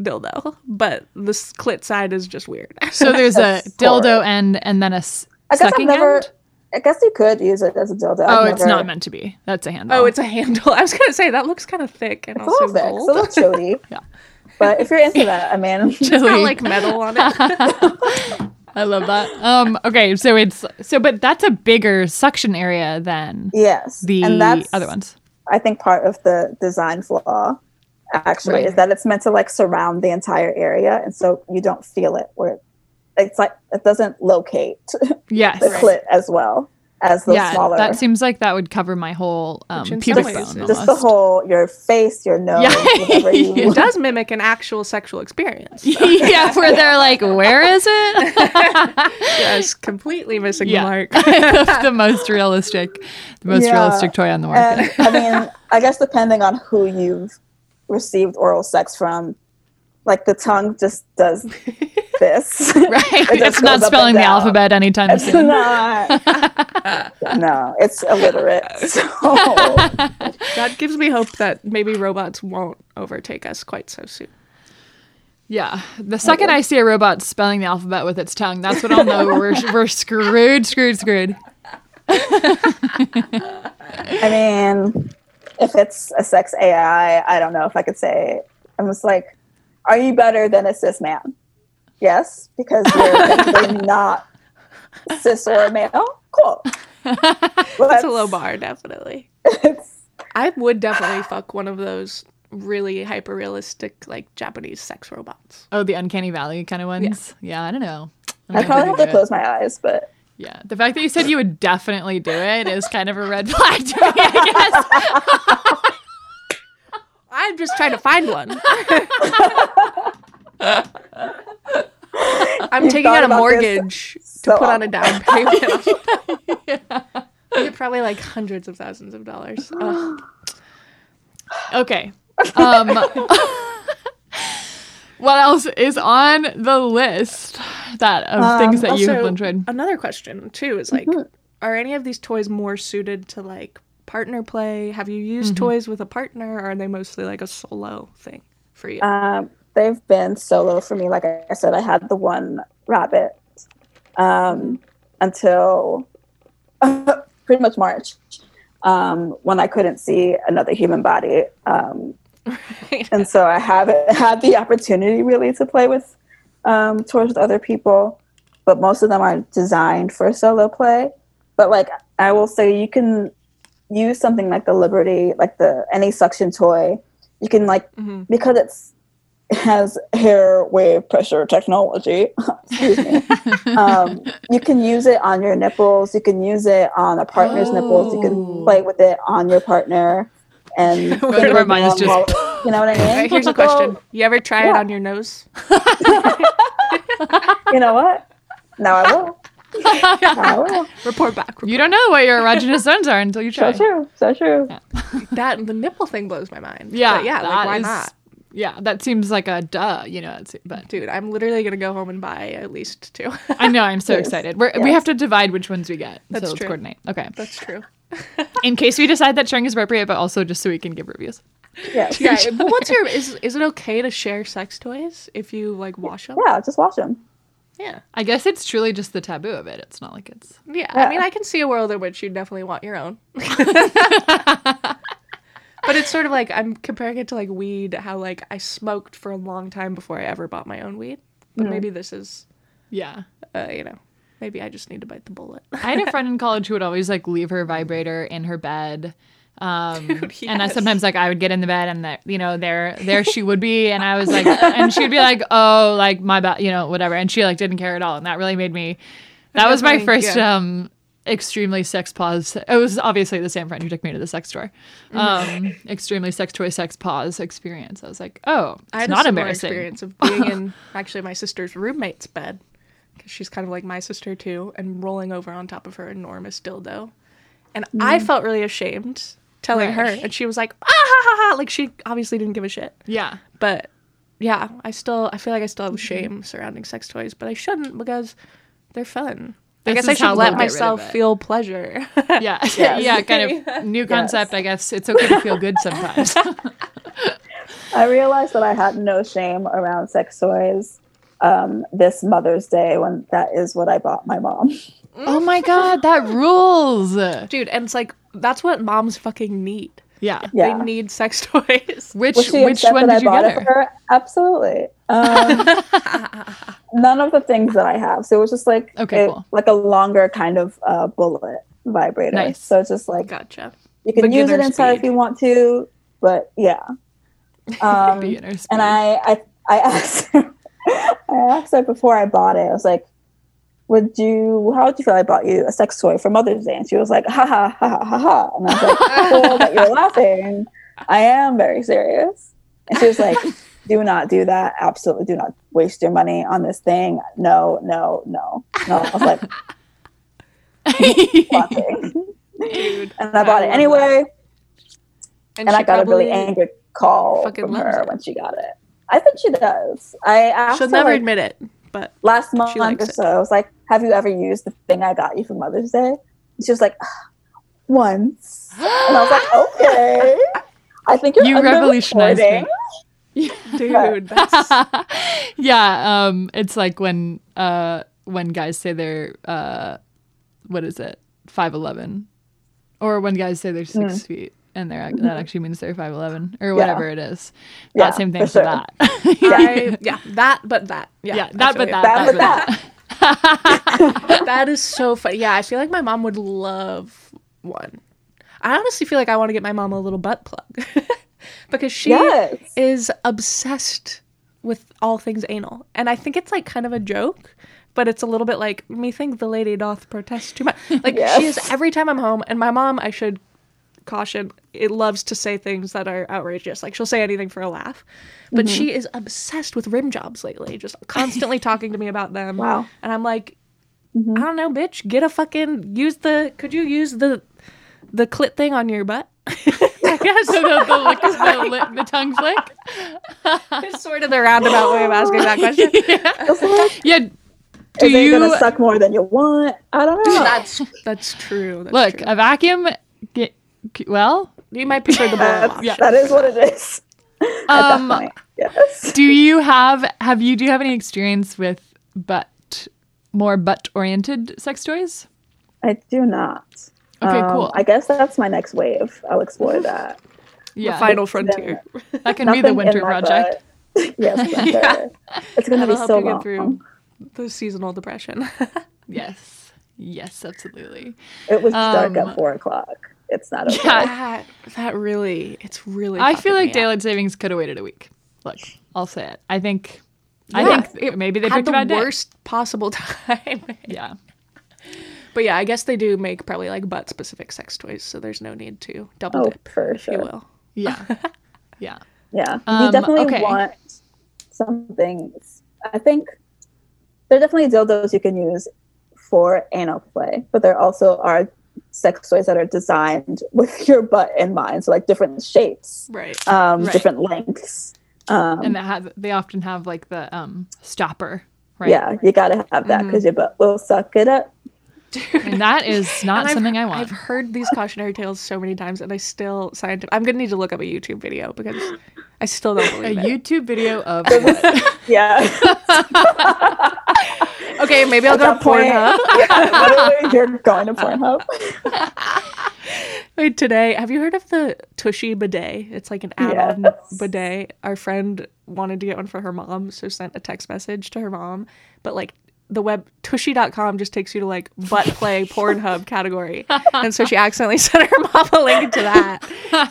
dildo, but the s- clit side is just weird.
so there's a
That's
dildo
horrid.
end and then a s-
I guess I've
sucking
never.
end.
I guess you could use it as a dildo.
Oh,
I've
it's
never-
not meant to be. That's a handle.
oh, it's a handle. I was gonna say that looks kind of thick and
It's a
also
little thick. It's a
gold.
little chody.
Yeah.
But if you're into that, I mean,
It's got
Chili.
like metal on it.
I love that. Um, okay, so it's so, but that's a bigger suction area than
yes.
the
and that's
other ones.
I think part of the design flaw actually
Right.
is that it's meant to like surround the entire area and so you don't feel it where it's like it doesn't locate the
Yes,
clit as well as the
yeah,
smaller
that seems like that would cover my whole um,
in some
pubic
ways
bone.
is-
just the
almost.
whole your face, your nose,
Yeah.
whatever you
Yeah.
It does mimic an actual sexual experience.
yeah, where they're like, where is it?
Yes, completely missing
Yeah.
the mark.
That's the most realistic, the most
Yeah.
realistic toy on the market.
And I mean, I guess depending on who you've received oral sex from, like the tongue just does this.
right?
It just
It's not
goes up
spelling
and
the
down.
alphabet anytime
It's
soon.
not. no, it's illiterate. So.
That gives me hope that maybe robots won't overtake us quite so soon.
Yeah. The second I see a robot spelling the alphabet with its tongue, that's when I'll know we're, we're screwed, screwed, screwed.
I mean, if it's a sex AI, I don't know if I could say. I'm just like, are you better than a cis man? Yes, because you're technically not cis or male. Cool.
That's a low bar, definitely.
It's,
I would definitely fuck one of those really hyper realistic, like Japanese sex robots.
Oh, the uncanny valley kind of ones. Yeah, I don't know. I, don't
I
know
probably
if
have
I
to
could do it.
close my eyes, but
Yeah, the fact that you said you would definitely do it is kind of a red flag to me. I guess.
I'm just trying to find one. I'm taking out
thought
a
about this
mortgage
so
to put on a down payment. They're Probably like hundreds of thousands of dollars. Ugh.
Okay. Um, what else is on the list that of things that you have
Um, also,
enjoyed?
Another question too is like,
Mm-hmm.
are any of these toys more suited to like partner play? Have you used toys with a partner, or are they mostly like a solo thing for you?
um, they've been solo for me. Like I said, I had the one rabbit um, until pretty much March. Um, when I couldn't see another human body, um, and so I haven't had the opportunity really to play with um, tours with other people, but most of them are designed for solo play. But like I will say, you can use something like the Liberty, like the any suction toy. You can like
Mm-hmm.
Mhm.
because it's it has hair wave pressure technology. excuse me. um, you can use it on your nipples. You can use it on a partner's nipples. You
Oh.
can play with it on your partner. And
Where
finger
mine is
down
just-
while- you know what I mean?
All right, here's a
Well,
question. You ever try it
yeah.
on your nose?
you know what? Now I will. Now I will.
Report back.
You don't know what your erogenous zones are until you try.
So true. So true.
That and the nipple thing blows my mind.
Yeah,
But yeah.
that
Like, why
is-
not,
Yeah, that seems like a duh, you know. It's, but
dude? I'm literally gonna go home and buy at least two.
I know I'm so
Yes.
excited. We're, We
Yes.
have to divide which ones we get.
That's
so let's
true.
coordinate. Okay.
That's true.
In case we decide that sharing is appropriate, but also just so we can give reviews.
Yes.
Yeah.
Yeah.
But what's your is? Is it okay to share sex toys if you like wash them?
Just watch them.
Yeah.
I guess it's truly just the taboo of it. It's not like it's.
Yeah,
Yeah.
I mean, I can see a world in which you definitely want your own. but But it's sort of like I'm comparing it to like weed, how like I smoked for a long time before I ever bought my own weed. But maybe this is,
Yeah.
uh, you know, maybe I just need to bite the bullet.
I had a friend in college who would always like leave her vibrator in her bed. Um, and I
yes.
sometimes like I would get in the bed and that you know there there she would be and I was like and she'd be like oh like my bad you know whatever and she like didn't care at all and that really made me that was my
Definitely,
first
yeah.
um extremely sex pause it was obviously the same friend who took me to the sex store
Mm-hmm.
um extremely sex toy sex pause experience I was like oh it's
I had
not
a similar
embarrassing
experience of being in actually my sister's roommate's bed because she's kind of like my sister too, and rolling over on top of her enormous dildo, and I felt really ashamed telling her,
Mm. Right.
and she was like, ah ha ha ha, like she obviously didn't give a shit.
yeah
But yeah, I still I feel like I still
Mm-hmm.
have shame surrounding sex toys, but I shouldn't because they're fun.
This
I guess I
is how
should
we'll
let
get rid of
myself
it.
feel pleasure.
yeah yeah kind of new concept I guess it's okay to feel good sometimes
I realized that I had no shame around sex toys um, this Mother's Day when that is what I bought my mom.
Oh my god, that rules.
Dude, and it's like that's what moms fucking need.
Yeah.
Yeah.
They need sex toys.
Which
Was she
which
upset
one
that I
did you
bought
get
it
her?
for her? Absolutely. Um, none of the things that I have. So it was just like
Okay,
it-
cool.
like a longer kind of uh, bullet vibrator.
Nice.
So it's just like
Gotcha.
you
But
can
do
use it
their
inside if
speed.
you want to, but yeah. Um,
Beginner speed.
and I, I, I asked, her, I asked her before I bought it. I was like, "Would you? How would you feel I bought you a sex toy for Mother's Day?" And she was like, "Ha ha ha ha ha ha!" And I was like, "Cool that you're laughing. I am very serious." And she was like, "Do not do that. Absolutely, do not waste your money on this thing. No, no, no, no." I was like, "Fucking."
Dude.
and I bought
I
it
love
anyway.
And,
and
she
I got a really
probably
angry call
fucking
from
loves
her
it.
when she got it. I think she does. I asked
She'll
her,
never
like,
admit it, but
last month
likes
or
it.
so. I was like, "Have you ever used the thing I got you for Mother's Day?" And she was like, "Once." And I was like, "Okay." I think you're
You
under
revolutionized me.
recording.
dude, that's
yeah, um it's like when uh when guys say they're uh what is it? 5'11 or when guys say they're 6
Mm.
feet and they're ac- that actually means they're 5'11 or whatever it is.
Mm-hmm. Yeah,
that same
for
thing for,
sure.
that.
I, yeah, that but that. Yeah,
yeah,
I
that
feel
but
you.
that.
That
that,
was
but that.
that.
That is so fun. Yeah, I feel like my mom would love one. I honestly feel like I want to get my mom a little butt plug because she
Yes.
is obsessed with all things anal. And I think it's like kind of a joke, but it's a little bit like me think the lady doth protest too much. Like she is
Yes.
every time I'm home and my mom, I should caution, it loves to say things that are outrageous. Like she'll say anything for a laugh. But
Mm-hmm.
she is obsessed with rim jobs lately, just constantly talking to me about them.
Wow.
And I'm like,
Mm-hmm.
I don't know, bitch. Get a fucking use the. Could you use the the clit thing on your butt? I guess
So the, the, lick, the, lip, the tongue flick.
it's sort of the roundabout way of asking that question.
It's like,
Yeah. Do
is it
you
gonna suck more than you want? I don't know.
That's that's true. That's
look
true.
a vacuum? Get, well,
you might prefer the blow
That's-
option.
That is what it is. At that
Um,
point, yes.
do you have have you do you have any experience with butt more butt oriented sex toys
I do not. Um,
Okay,
Um,
cool.
I guess that's my next wave. I'll explore that.
yeah
The final frontier.
that can be the
Nothing
winter
in my
project
butt. yes, winter. It's gonna
That'll
be
help
so
you
long.
get through the seasonal depression.
Uh, yes yes absolutely
It was dark
Um,
at four o'clock. It's not okay.
Yeah.
that that really, it's really.
i feel
fucking
like
me up.
daylight savings could have waited a week look i'll say it i think
Yeah,
i think
it
maybe they
had
picked
the
a bad day.
worst possible time.
yeah
but yeah, I guess they do make probably like butt specific sex toys, so there's no need to double
Oh,
dip,
for
if you
sure.
will.
yeah yeah
Yeah,
Um,
you definitely
okay.
want something. I think there are definitely dildos you can use for anal play, but there also are sex toys that are designed with your butt in mind. So like different shapes,
Right.
um,
Right.
different lengths. Um,
and they have they often have like the um stopper right Mm-hmm.
Yeah, you gotta have that because your butt will suck it up.
and that is not
And I've-
something i want
I've heard these cautionary tales so many times, and I still scientific. I'm gonna need to look up a YouTube video because I still don't
a
believe it.
youtube video of
Yeah.
Okay, maybe I'll go to
that point-
Pornhub.
Uh,
Yeah, literally, you're going to Pornhub.
Wait, today, have you heard of the Tushy bidet? It's like an add-on bidet. Our friend wanted to get one for her mom, so sent a text message to her mom. But like the web tushy.com just takes you to like butt play Pornhub category. And so she accidentally sent her mom a link to that.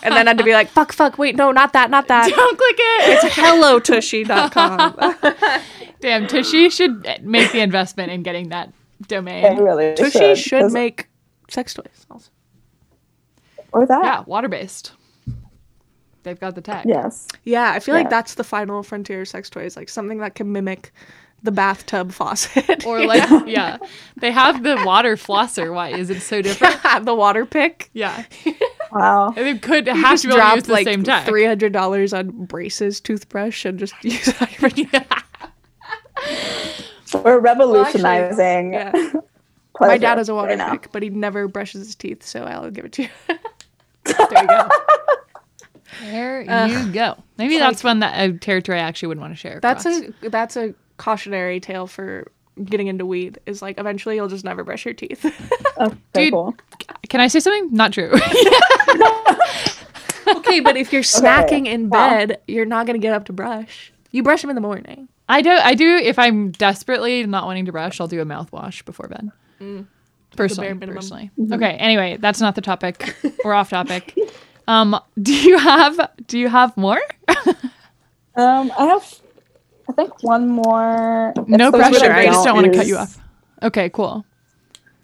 And then had to be like, fuck, fuck, wait, no, not that, not that.
Don't click it.
It's hellotushy.com.
Damn, Tushy should make the investment in getting that domain.
It really
Tushy should
'cause-
make sex toys also.
or that.
Yeah, water based. They've got the tech.
Yes.
Yeah, I feel like
Yeah.
that's the final frontier of sex toys, like something that can mimic the bathtub faucet
Or like, yeah, they have the water flosser. Why is it so different?
the water pick.
Yeah,
Wow.
and it could have
Just
to be able to use
drop
the
like
same tech.
three hundred dollars on braces, toothbrush, and just use
We're revolutionizing.
yeah.
pleasure
My dad has a water
right now.
pick, but he never brushes his teeth, so I'll give it to you.
There you go. There you go. Uh, Maybe
like-
that's one that a territory I actually would not want to share.
That's
across.
a that's a cautionary tale for getting into weed. Is like eventually you'll just never brush your teeth.
Okay,
Dude.
cool.
Can I say something? Not true.
okay, but if you're snacking in bed, you're not gonna get up to brush. You brush them in the morning.
I do. I do. If I'm desperately not wanting to brush, I'll do a mouthwash before bed. Personally,
Mm. bare minimum.
personally.
Mm-hmm.
Okay. Anyway, that's not the topic. We're off topic. Um, do you have Do you have more?
Um, I have, I think one more. if
no
those that
pressure. I just don't want to cut
use-
you off. Okay. Cool.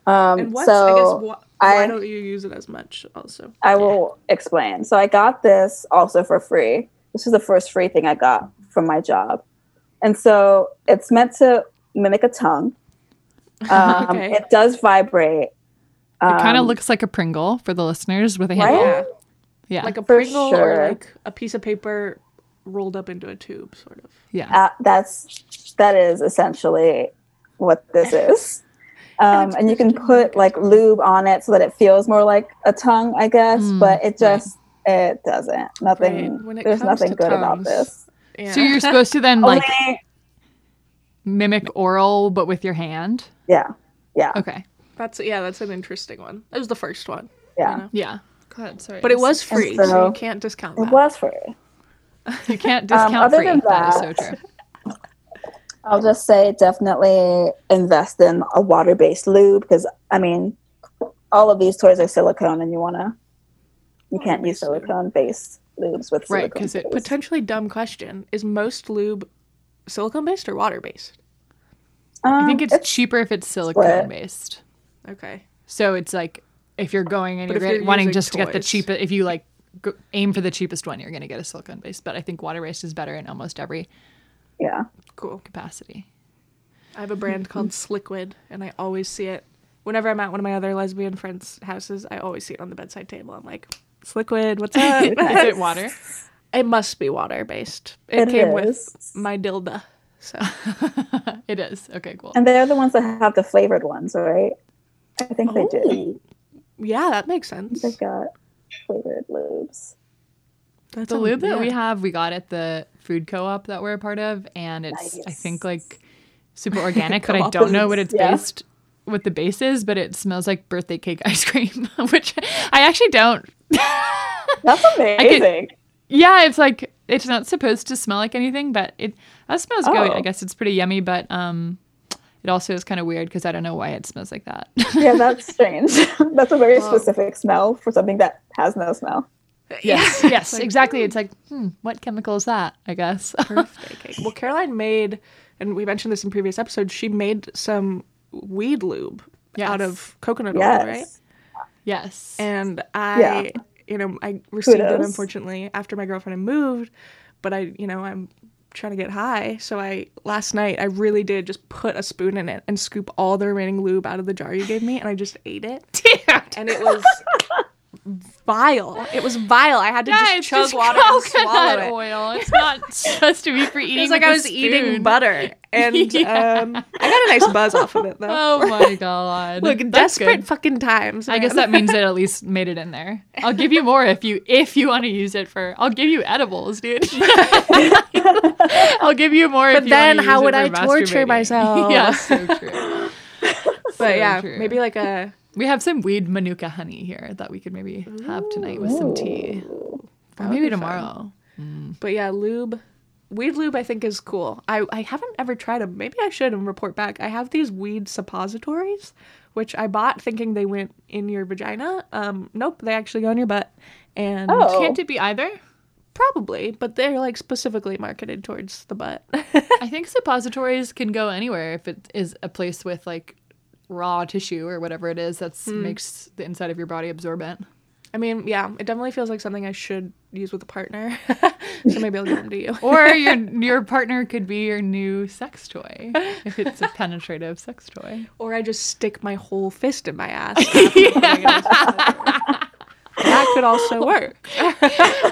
Um,
And what's I guess
so
wh- why
I-
don't you use it as much also?
I will explain. So I got this also for free. This is the first free thing I got from my job, and so it's meant to mimic a tongue. Um,
Okay.
It does vibrate.
it kind of
Um,
looks like a Pringle for the listeners with a
Right?
handle.
Yeah.
Yeah.
Like a
For
Pringle or
sure.
like a piece of paper rolled up into a tube, sort of.
yeah.
uh, that's that is essentially what this is. Um, and you can put like lube on it so that it feels more like a tongue, I guess.
Mm,
but it just it doesn't. Nothing.
Right. When it
There's
comes
nothing
to
good about
tongues,
this.
Yeah.
So you're supposed to
Oh,
then like
Only-
mimic oral, but with your hand.
yeah, yeah,
Okay.
that's yeah, that's an interesting one. That was the first one.
yeah.
know.
Yeah. Go ahead. Sorry.
But it was free, so,
so-
you can't discount that.
It was free.
You can't discount
Um, other
free.
than
that is so
that-
true.
I'll just say definitely invest in a water-based lube because I mean, all of these toys are silicone, and you wanna you can't use
Water-based lube.
silicone-based lubes with
Oh, Right,
silicone
'cause it
base.
Potentially dumb question. Is most lube silicone based or water based?
Um,
I think it's,
it's
cheaper if it's silicone based.
Okay.
So it's like if you're going and
But
you're,
if you're
gonna- wanting
using
just to get the
toys.
cheapest, if you like go, aim for the cheapest one, you're going to get a silicone based. But I think water based is better in almost every
yeah.
Cool.
capacity.
I have a brand called Sliquid and I always see it whenever I'm at one of my other lesbian friends' houses, I always see it on the bedside table. I'm like, Sliquid, what's up?
is it water?
It must be water based. It,
It
came
is.
with my dilda. So
It is. Okay, cool.
And they're the ones that have the flavored ones, right? I think they do.
yeah, that makes sense.
They've got flavored lubes.
That's
the
a-
lube that we
yeah.
have, we got at the food co-op that we're a part of, and it's I think like super organic, but I
Co-op
don't know
is-
what it's
yeah.
based what the base is, but it smells like birthday cake ice cream, which I actually don't.
That's amazing.
Yeah, it's like it's not supposed to smell like anything, but it that smells good.
Oh.
I guess it's pretty yummy, but um, it also is kind of weird because I don't know why it smells like that.
yeah, that's strange. that's a very specific smell for something that has no smell.
yes, yes, exactly. It's like, hmm, what chemical is that? I guess.
birthday cake. Well, Caroline made, and we mentioned this in previous episodes, she made some weed lube out
Yes.
of coconut
Yes.
oil, right?
yes.
And I,
Yeah.
you know, I received it
Kudos.
unfortunately after my girlfriend had moved, but I, you know, I'm trying to get high. So I, last night, I really did just put a spoon in it and scoop all the remaining lube out of the jar you gave me, and I just ate it. And it was. Vile. It was vile. I had to
Yeah,
just chug water and swallow it.
oil. It's not supposed to be for eating.
It was like
with
I
a
was eating
spoon.
butter, and um, I got a nice buzz off of it though.
Oh my god!
Look,
That's
desperate
good.
fucking times.
I guess that means it at least made it in there. I'll give you more if you if you want to use it for. I'll give you edibles, dude. I'll give you more.
But
if you wanna
then
use
how
it
would
for
I torture
masturbating.
myself?
yeah, so true.
But yeah,
true.
maybe like a
We have some weed manuka honey here that we could maybe have tonight with some tea. Or
would
maybe
be fun.
tomorrow.
But yeah, lube. Weed lube I think is cool. I, I haven't ever tried them. Maybe I should and report back. I have these weed suppositories, which I bought thinking they went in your vagina. Um, nope, they actually go in your butt. And
Oh.
Can't it be either?
probably, but they're like specifically marketed towards the butt.
I think suppositories can go anywhere if it is a place with like raw tissue or whatever it is that
Hmm.
makes the inside of your body absorbent.
I mean, yeah, it definitely feels like something I should use with a partner. so maybe I'll give them to you.
Or your your partner could be your new sex toy if it's a penetrative sex toy.
Or I just stick my whole fist in my ass. That could also work.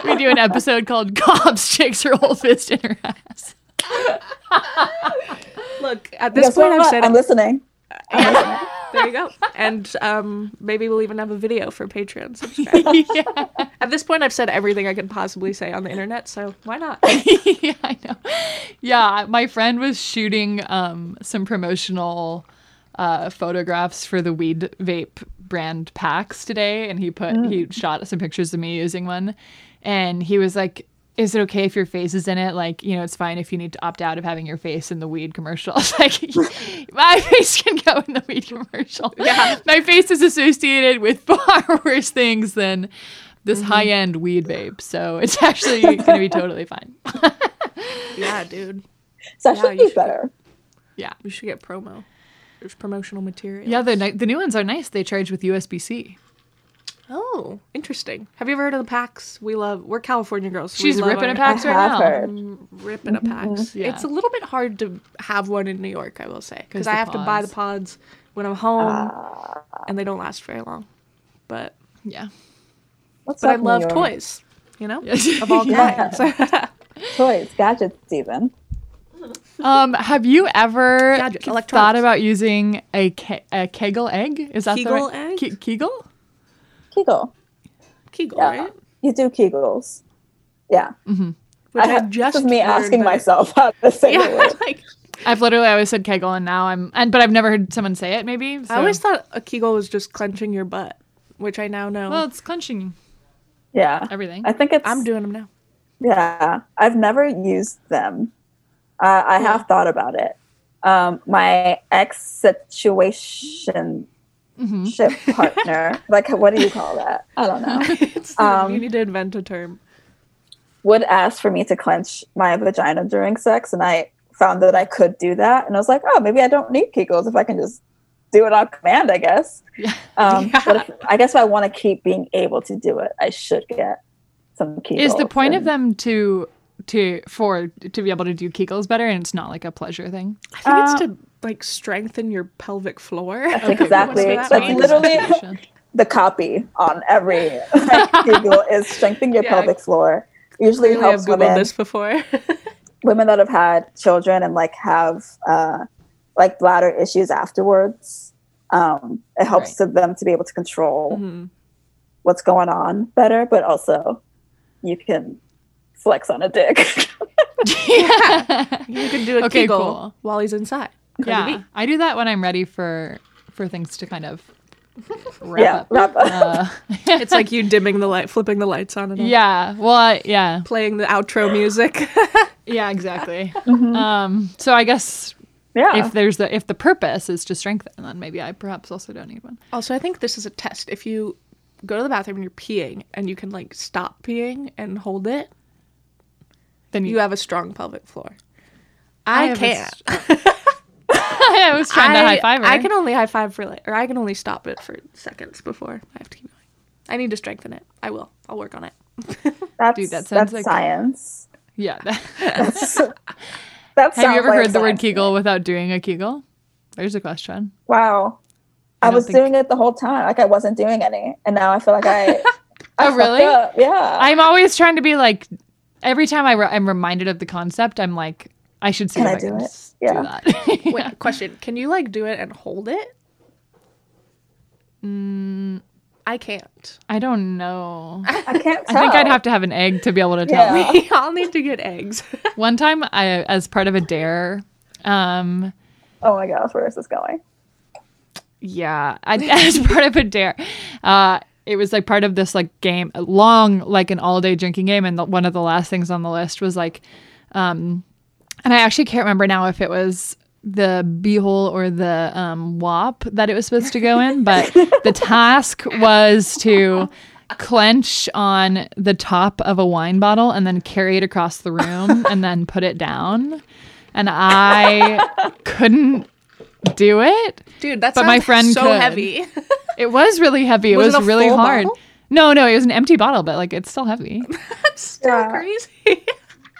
We do an episode called "Cops Chicks Her Whole Fist in Her Ass."
Look, at this
Guess
point,
what?
I've said
I'm
it.
listening.
There you go. And um, maybe we'll even have a video for Patreon subscribers.
yeah,
At this point, I've said everything I could possibly say on the internet, so why not?
yeah, I know. Yeah, my friend was shooting um, some promotional uh, photographs for the weed vape brand packs today, and he put he shot some pictures of me using one, and he was like. Is it okay if your face is in it? Like, you know, it's fine if you need to opt out of having your face in the weed commercial. I was like, my face can go in the weed commercial. Yeah. My face is associated with far worse things than this high end weed vape. So it's actually going to be totally fine.
Yeah, dude.
It's actually
you should.
better.
Yeah.
We should get promo. There's promotional material.
Yeah, the ni- the new ones are nice. They charge with USB C.
Oh, interesting. Have you ever heard of the PAX? We love. We're California girls. so we
She's
love
ripping
our-
a packs
I
right now.
have heard.
ripping a PAX.
Mm-hmm.
Yeah.
It's a little bit hard to have one in New York, I will say, because
the
I have to buy the
pods.
pods when I'm home,
Ah.
and they don't last very long. But
Yeah.
What's
but I
up, New
love
York?
toys, you know,
Yes.
of all kinds.
Toys, gadgets, even.
Um, have you ever
Gadgets,
k- thought
electronics.
about using a, ke- a Kegel egg? Is that
Kegel
the right?
egg?
Ke- Kegel?
Kegel.
Kegel,
Yeah.
right?
You do Kegels. Yeah.
Which I,
This
just
is me
learned
asking
that-
myself how to say
Yeah,
the word.
like
I've literally always said Kegel, and now I'm and but I've never heard someone say it. Maybe so.
I always thought a Kegel was just clenching your butt, which I now know.
well, it's clenching
Yeah.
everything.
I think it's.
I'm doing them now.
Yeah, I've never used them. Uh, I have thought about it. Um, my ex situation
Mm-hmm.
ship partner, like what do you call that? I don't know.
It's
Um,
you need to invent a term.
Would ask for me to clench my vagina during sex, and I found that I could do that, and I was like, oh, maybe I don't need Kegels if I can just do it on command, I guess.
Yeah.
Um, But if, I guess if I want to keep being able to do it, I should get some Kegels.
Is the point of
and-
them to to for to be able to do Kegels better, and it's not like a pleasure thing?
I think it's
uh,
to like strengthen your pelvic floor.
think exactly.
what's
That's
that mean?
literally
Situation.
the copy on every like, Google is strengthen your
Yeah.
pelvic floor. Usually
Clearly, I've
helps women,
googled this before.
women that have had children and like have uh, like bladder issues afterwards. Um, it helps to them to be able to control
Mm-hmm.
what's going on better, but also you can flex on a dick.
You can do a
Okay,
Kegel
cool.
while he's inside. Cardi
yeah,
B.
I do that when I'm ready for for things to kind of wrap
yeah,
up.
wrap up.
Uh,
It's like you dimming the light, flipping the lights on and off,
yeah, well, I- yeah,
playing the outro music.
yeah, exactly. Um, so I guess
Mm-hmm. yeah,
if there's the if the purpose is to strengthen, then maybe I perhaps also don't need one.
also, I think this is a test. If you go to the bathroom and you're peeing and you can like stop peeing and hold it,
Then
you have a strong pelvic floor. I,
have a s-
can't.
I was trying to high five her.
I can only high five for like, or I can only stop it for seconds before I have to keep going. I need to strengthen it. I will. I'll work on it.
that's
dude, that sounds
that's
like-
science.
yeah.
That
have
sounds
you ever
like
heard the word
science.
Kegel without doing a Kegel? There's a question.
Wow. I,
don't
was
think-
doing it the whole time. Like I wasn't doing any. And now I feel like I. I
Oh,
fucked
really?
up. Yeah.
I'm always trying to be like, every time I re- I'm reminded of the concept, I'm like, I should see
Can
if
I
I can
do it?
s-
Yeah.
do that.
Wait, question. Can you like do it and hold it? Mm, I can't.
I don't know.
I can't tell.
I think I'd have to have an egg to be able to tell.
Yeah.
We all need to get eggs.
One time, I as part of a dare, um,
Oh my gosh, where is this going?
yeah, I, as part of a dare. Uh, it was like part of this like game, a long like an all day drinking game, and the, one of the last things on the list was like, um, and I actually can't remember now if it was the beehole or the um, wop that it was supposed to go in, but the task was to clench on the top of a wine bottle and then carry it across the room and then put it down, and I couldn't do it.
Dude, that's
But my friend
so
could.
heavy.
It was really heavy. It
Was
was,
it a
really
full
hard.
bottle?
No, no, it was an empty bottle, but like it's still heavy.
so
Yeah.
crazy.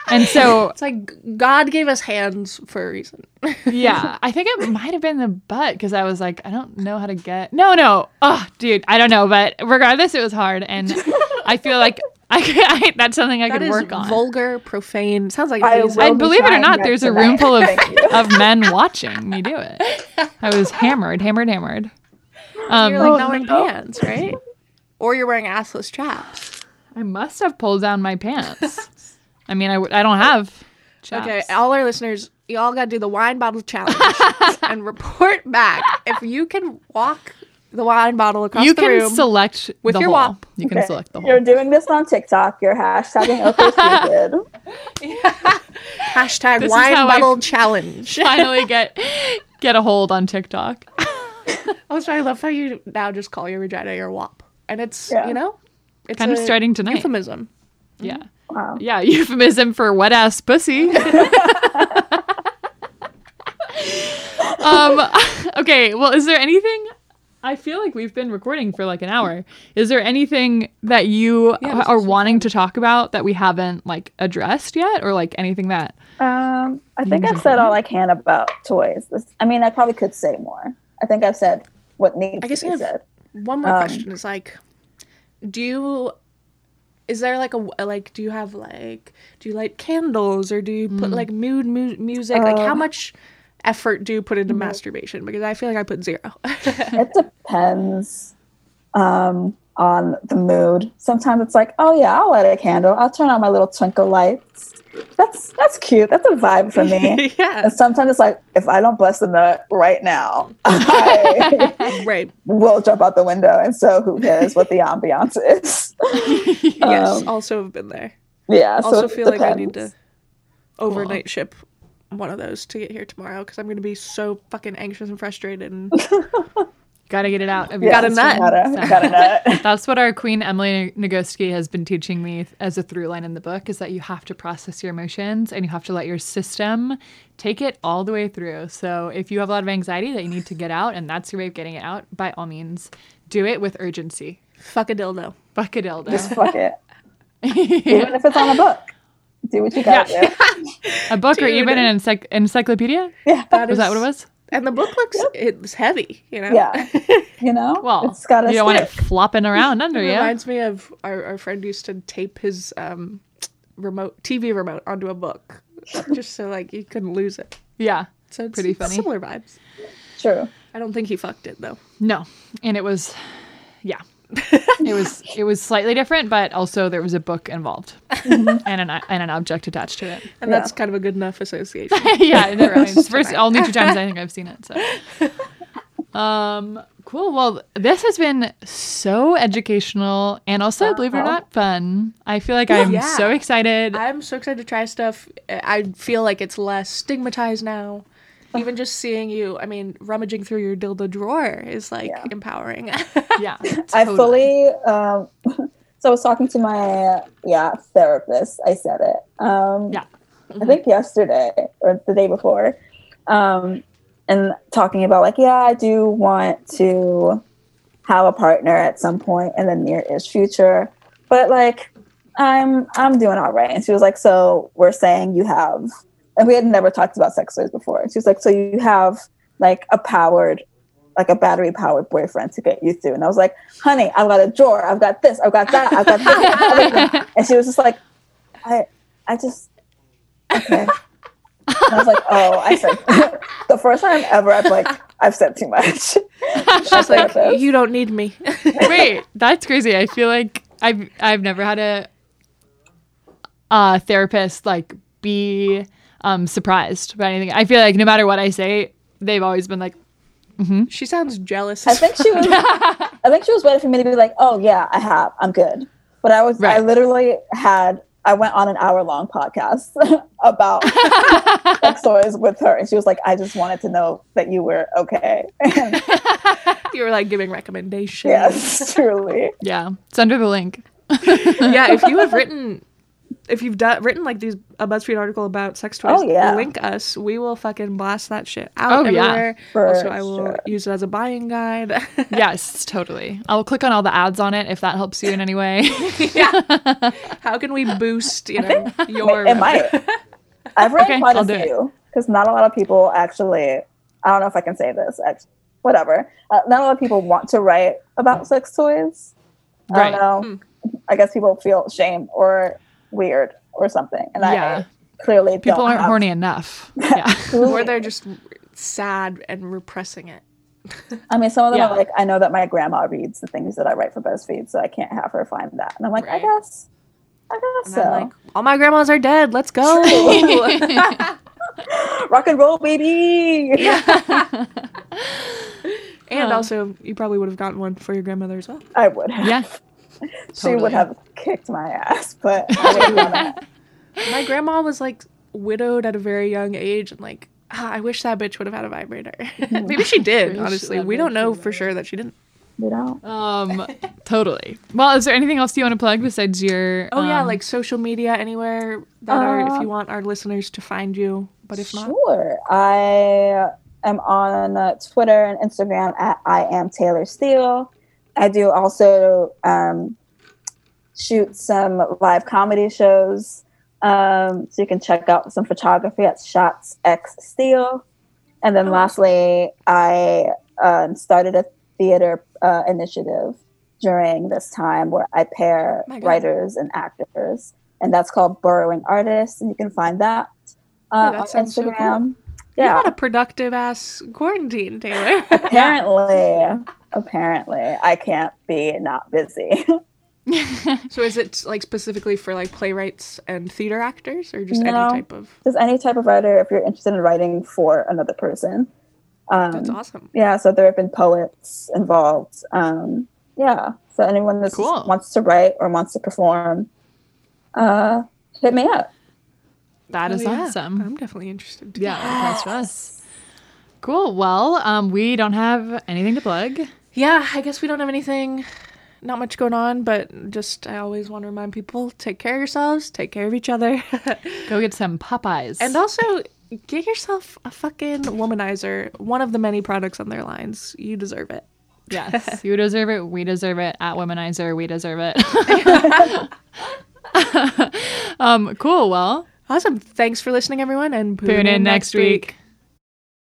And so,
It's like God gave us hands for a reason.
yeah, I think it might have been the butt because I was like, I don't know how to get. No, no. Oh, dude, I don't know. But regardless, it was hard. And I feel like I, could, I that's something I
That
could
is
work on.
vulgar, profane. Sounds like
I
he's-
will
and
be
believe it or
trying
not,
that
there's a
tonight.
room full of,
Thank you.
of men watching me do it. I was hammered, hammered, hammered. Um,
you're like
Oh,
not wearing
no.
pants, right? Or you're wearing assless chaps.
I must have pulled down my pants. I mean, I, w- I don't have. Chaps.
Okay, all our listeners, you all got to do the wine bottle challenge and report back if you can walk the wine bottle across
you
the
can
room.
select
with
the
your
whole.
WAP.
You can
Okay.
select the
You're
whole.
doing this on TikTok. You're hashtagging OkCupid.
Hashtag
This is
wine
how I-
bottle challenge.
Finally, get get a hold on TikTok.
Also, I love how you now just call your vagina your wop, and it's
Yeah.
you know, it's
Kind of
a
starting tonight.
euphemism.
Yeah,
wow.
yeah. Euphemism for wet ass pussy. um. Okay. Well, is there anything? I feel like we've been recording for like an hour. Is there anything that you
Yeah, this
are
is so
wanting to talk about that we haven't like addressed yet, or like anything that?
Um, I think I've said all I can about toys. This, I mean, I probably could say more. I think I've said what needs
I guess
to be
I have-
said.
One more
Um,
question is like, do you? Is there like a like? Do you have like? Do you light candles or do you put like mood mu- music? like how
Mm. Uh, Mm-hmm.
much effort do you put into masturbation? Because I feel like I put zero.
It depends um, on the mood. Sometimes it's like, oh yeah, I'll light a candle. I'll turn on my little twinkle lights. That's that's cute. That's a vibe for me.
yeah,
and sometimes it's like, if I don't bless the nut right now, I
right.
will jump out the window. And so, who cares what the ambiance is?
Yes,
Um,
also have been there.
yeah. so
also
it
feel like I need to
depends.
overnight ship one of those to get here tomorrow because I'm gonna be so fucking anxious and frustrated and
Gotta get it out. of your
Yeah,
Got a
it's
nut.
gotta- gotta nut.
That's what our Queen Emily Nagoski has been teaching me as a through line in the book is that you have to process your emotions and you have to let your system take it all the way through. So if you have a lot of anxiety that you need to get out and that's your way of getting it out, by all means, do it with urgency.
fuck a dildo.
Fuck a dildo.
Just fuck it. Even if it's on a book, do what you gotta
Yeah.
do.
a book or even
Dude.
an encyc- encyclopedia?
Yeah.
Was that what it was?
And the book looks it's heavy, you know.
Yeah. You know?
Well,
it's gotta
you don't want it
stick.
flopping around under
It
you.
reminds me of our, our friend used to tape his um remote TV remote onto a book just so like you couldn't lose it.
Yeah.
So it's
Pretty funny.
Similar vibes.
True.
I don't think he fucked it though.
No, and it was, yeah, it was it was slightly different, but also there was a book involved and an and an object attached to it.
And
Yeah.
that's kind of a good enough association.
yeah, no,
For us
it's first
tonight.
only two times I think I've seen it. So, um, cool. Well, this has been so educational and also, believe it or not, fun. I feel like I'm
Yeah.
so excited.
I'm so excited to try stuff. I I feel like it's less stigmatized now. Even just seeing you, I mean, rummaging through your dildo drawer is like
Yeah.
empowering.
yeah,
I
totally.
fully um so I was talking to my yeah, therapist. I said it. Um
Yeah. Mm-hmm.
I think yesterday or the day before. Um and talking about like, yeah, I do want to have a partner at some point in the near-ish future. But like I'm I'm doing all right. And she was like, So we're saying you have and we had never talked about sex toys before. And she was like, So you have like a powered like a battery powered boyfriend to get you through. And I was like, honey, I've got a drawer. I've got this. I've got that. I've got that. everything." and she was just like, I, I just, okay. And I was like, oh, I said, the first time ever, I've like, I've said too much.
She's like,
Therapist.
you don't need me.
Wait, that's crazy. I feel like I've I've never had a uh therapist like be um surprised by anything. I feel like no matter what I say, they've always been like,
She sounds jealous.
I think she was. I think she was waiting for me to be like, "Oh yeah, I have. I'm good." But I was. I
Right.
literally had. I went on an hour long podcast about sex toys with her, and she was like, "I just wanted to know that you were okay."
you were like giving recommendations.
yes, truly.
Yeah. Send her the link.
yeah, if you have written, if you've done written like these a BuzzFeed article about sex toys,
Oh, yeah.
link us. We will fucking blast that shit out
Oh, yeah.
everywhere.
For
also, I will
sure.
use it as a buying guide.
Yes, totally. I'll click on all the ads on it if that helps you in any way.
yeah. How can we boost, you know, your
It might. I've read
Okay,
quite
I'll do
a
it.
few because not a lot of people actually. I don't know if I can say this. Actually, whatever. Uh, not a lot of people want to write about sex toys. I
Right. Hmm.
don't know. I guess people feel shame or weird or something, and
Yeah.
I clearly
People
don't
aren't
have-
horny enough. Yeah.
or
Clearly.
they're just sad and repressing it.
I mean, some of them
Yeah.
are like, I know that my grandma reads the things that I write for BuzzFeed, so I can't have her find that. And I'm like, I
Right.
guess, I guess
And I'm like,
so.
all my grandmas are dead. Let's go.
Rock and roll, baby.
and also, you probably would have gotten one for your grandmother as well.
I would. Have.
Yeah.
She would
Totally.
have kicked my ass, but I wouldn't want it.
My grandma was like widowed at a very young age, and like, ah, I wish that bitch would have had a vibrator. Maybe she did.
Wish
honestly,
that
we don't
bitch
know
would've
for sure that she didn't.
you know.
Um, totally. Well, is there anything else you want to plug besides your?
Oh yeah,
um,
like social media anywhere that are if
Uh,
you want our listeners to find you. But if not,
Sure. I am on uh, Twitter and Instagram at I am Taylor Steele. I do also um, shoot some live comedy shows. Um, so you can check out some photography at Shots X Steele. And
Oh.
then lastly, I um, started a theater uh, initiative during this time where I pair
My God.
writers and actors. And that's called Borrowing Artists. And you can find that uh,
Oh, that
on
sounds so cool.
Instagram.
you
Yeah,
had a productive ass quarantine, Taylor.
apparently, apparently, I can't be not busy.
so is it like specifically for like playwrights and theater actors, or just
No.
any type of?
There's any type of writer if you're interested in writing for another person. Um,
That's awesome.
Yeah, so there have been poets involved. Um, yeah, so anyone that
Cool.
wants to write or wants to perform, uh, hit me up.
that is
Oh, yeah.
awesome.
I'm definitely interested. To
Yeah, that's for us. Cool. Well, um, we don't have anything to plug.
yeah, I guess we don't have anything, not much going on, but just I always want to remind people take care of yourselves, take care of each other,
Go get some Popeyes.
and also get yourself a fucking womanizer, one of the many products on their lines. You deserve it.
yes, you deserve it. We deserve it. At Womanizer, we deserve it. um, cool. Well,
Awesome. Thanks for listening, everyone, and
tune in next week.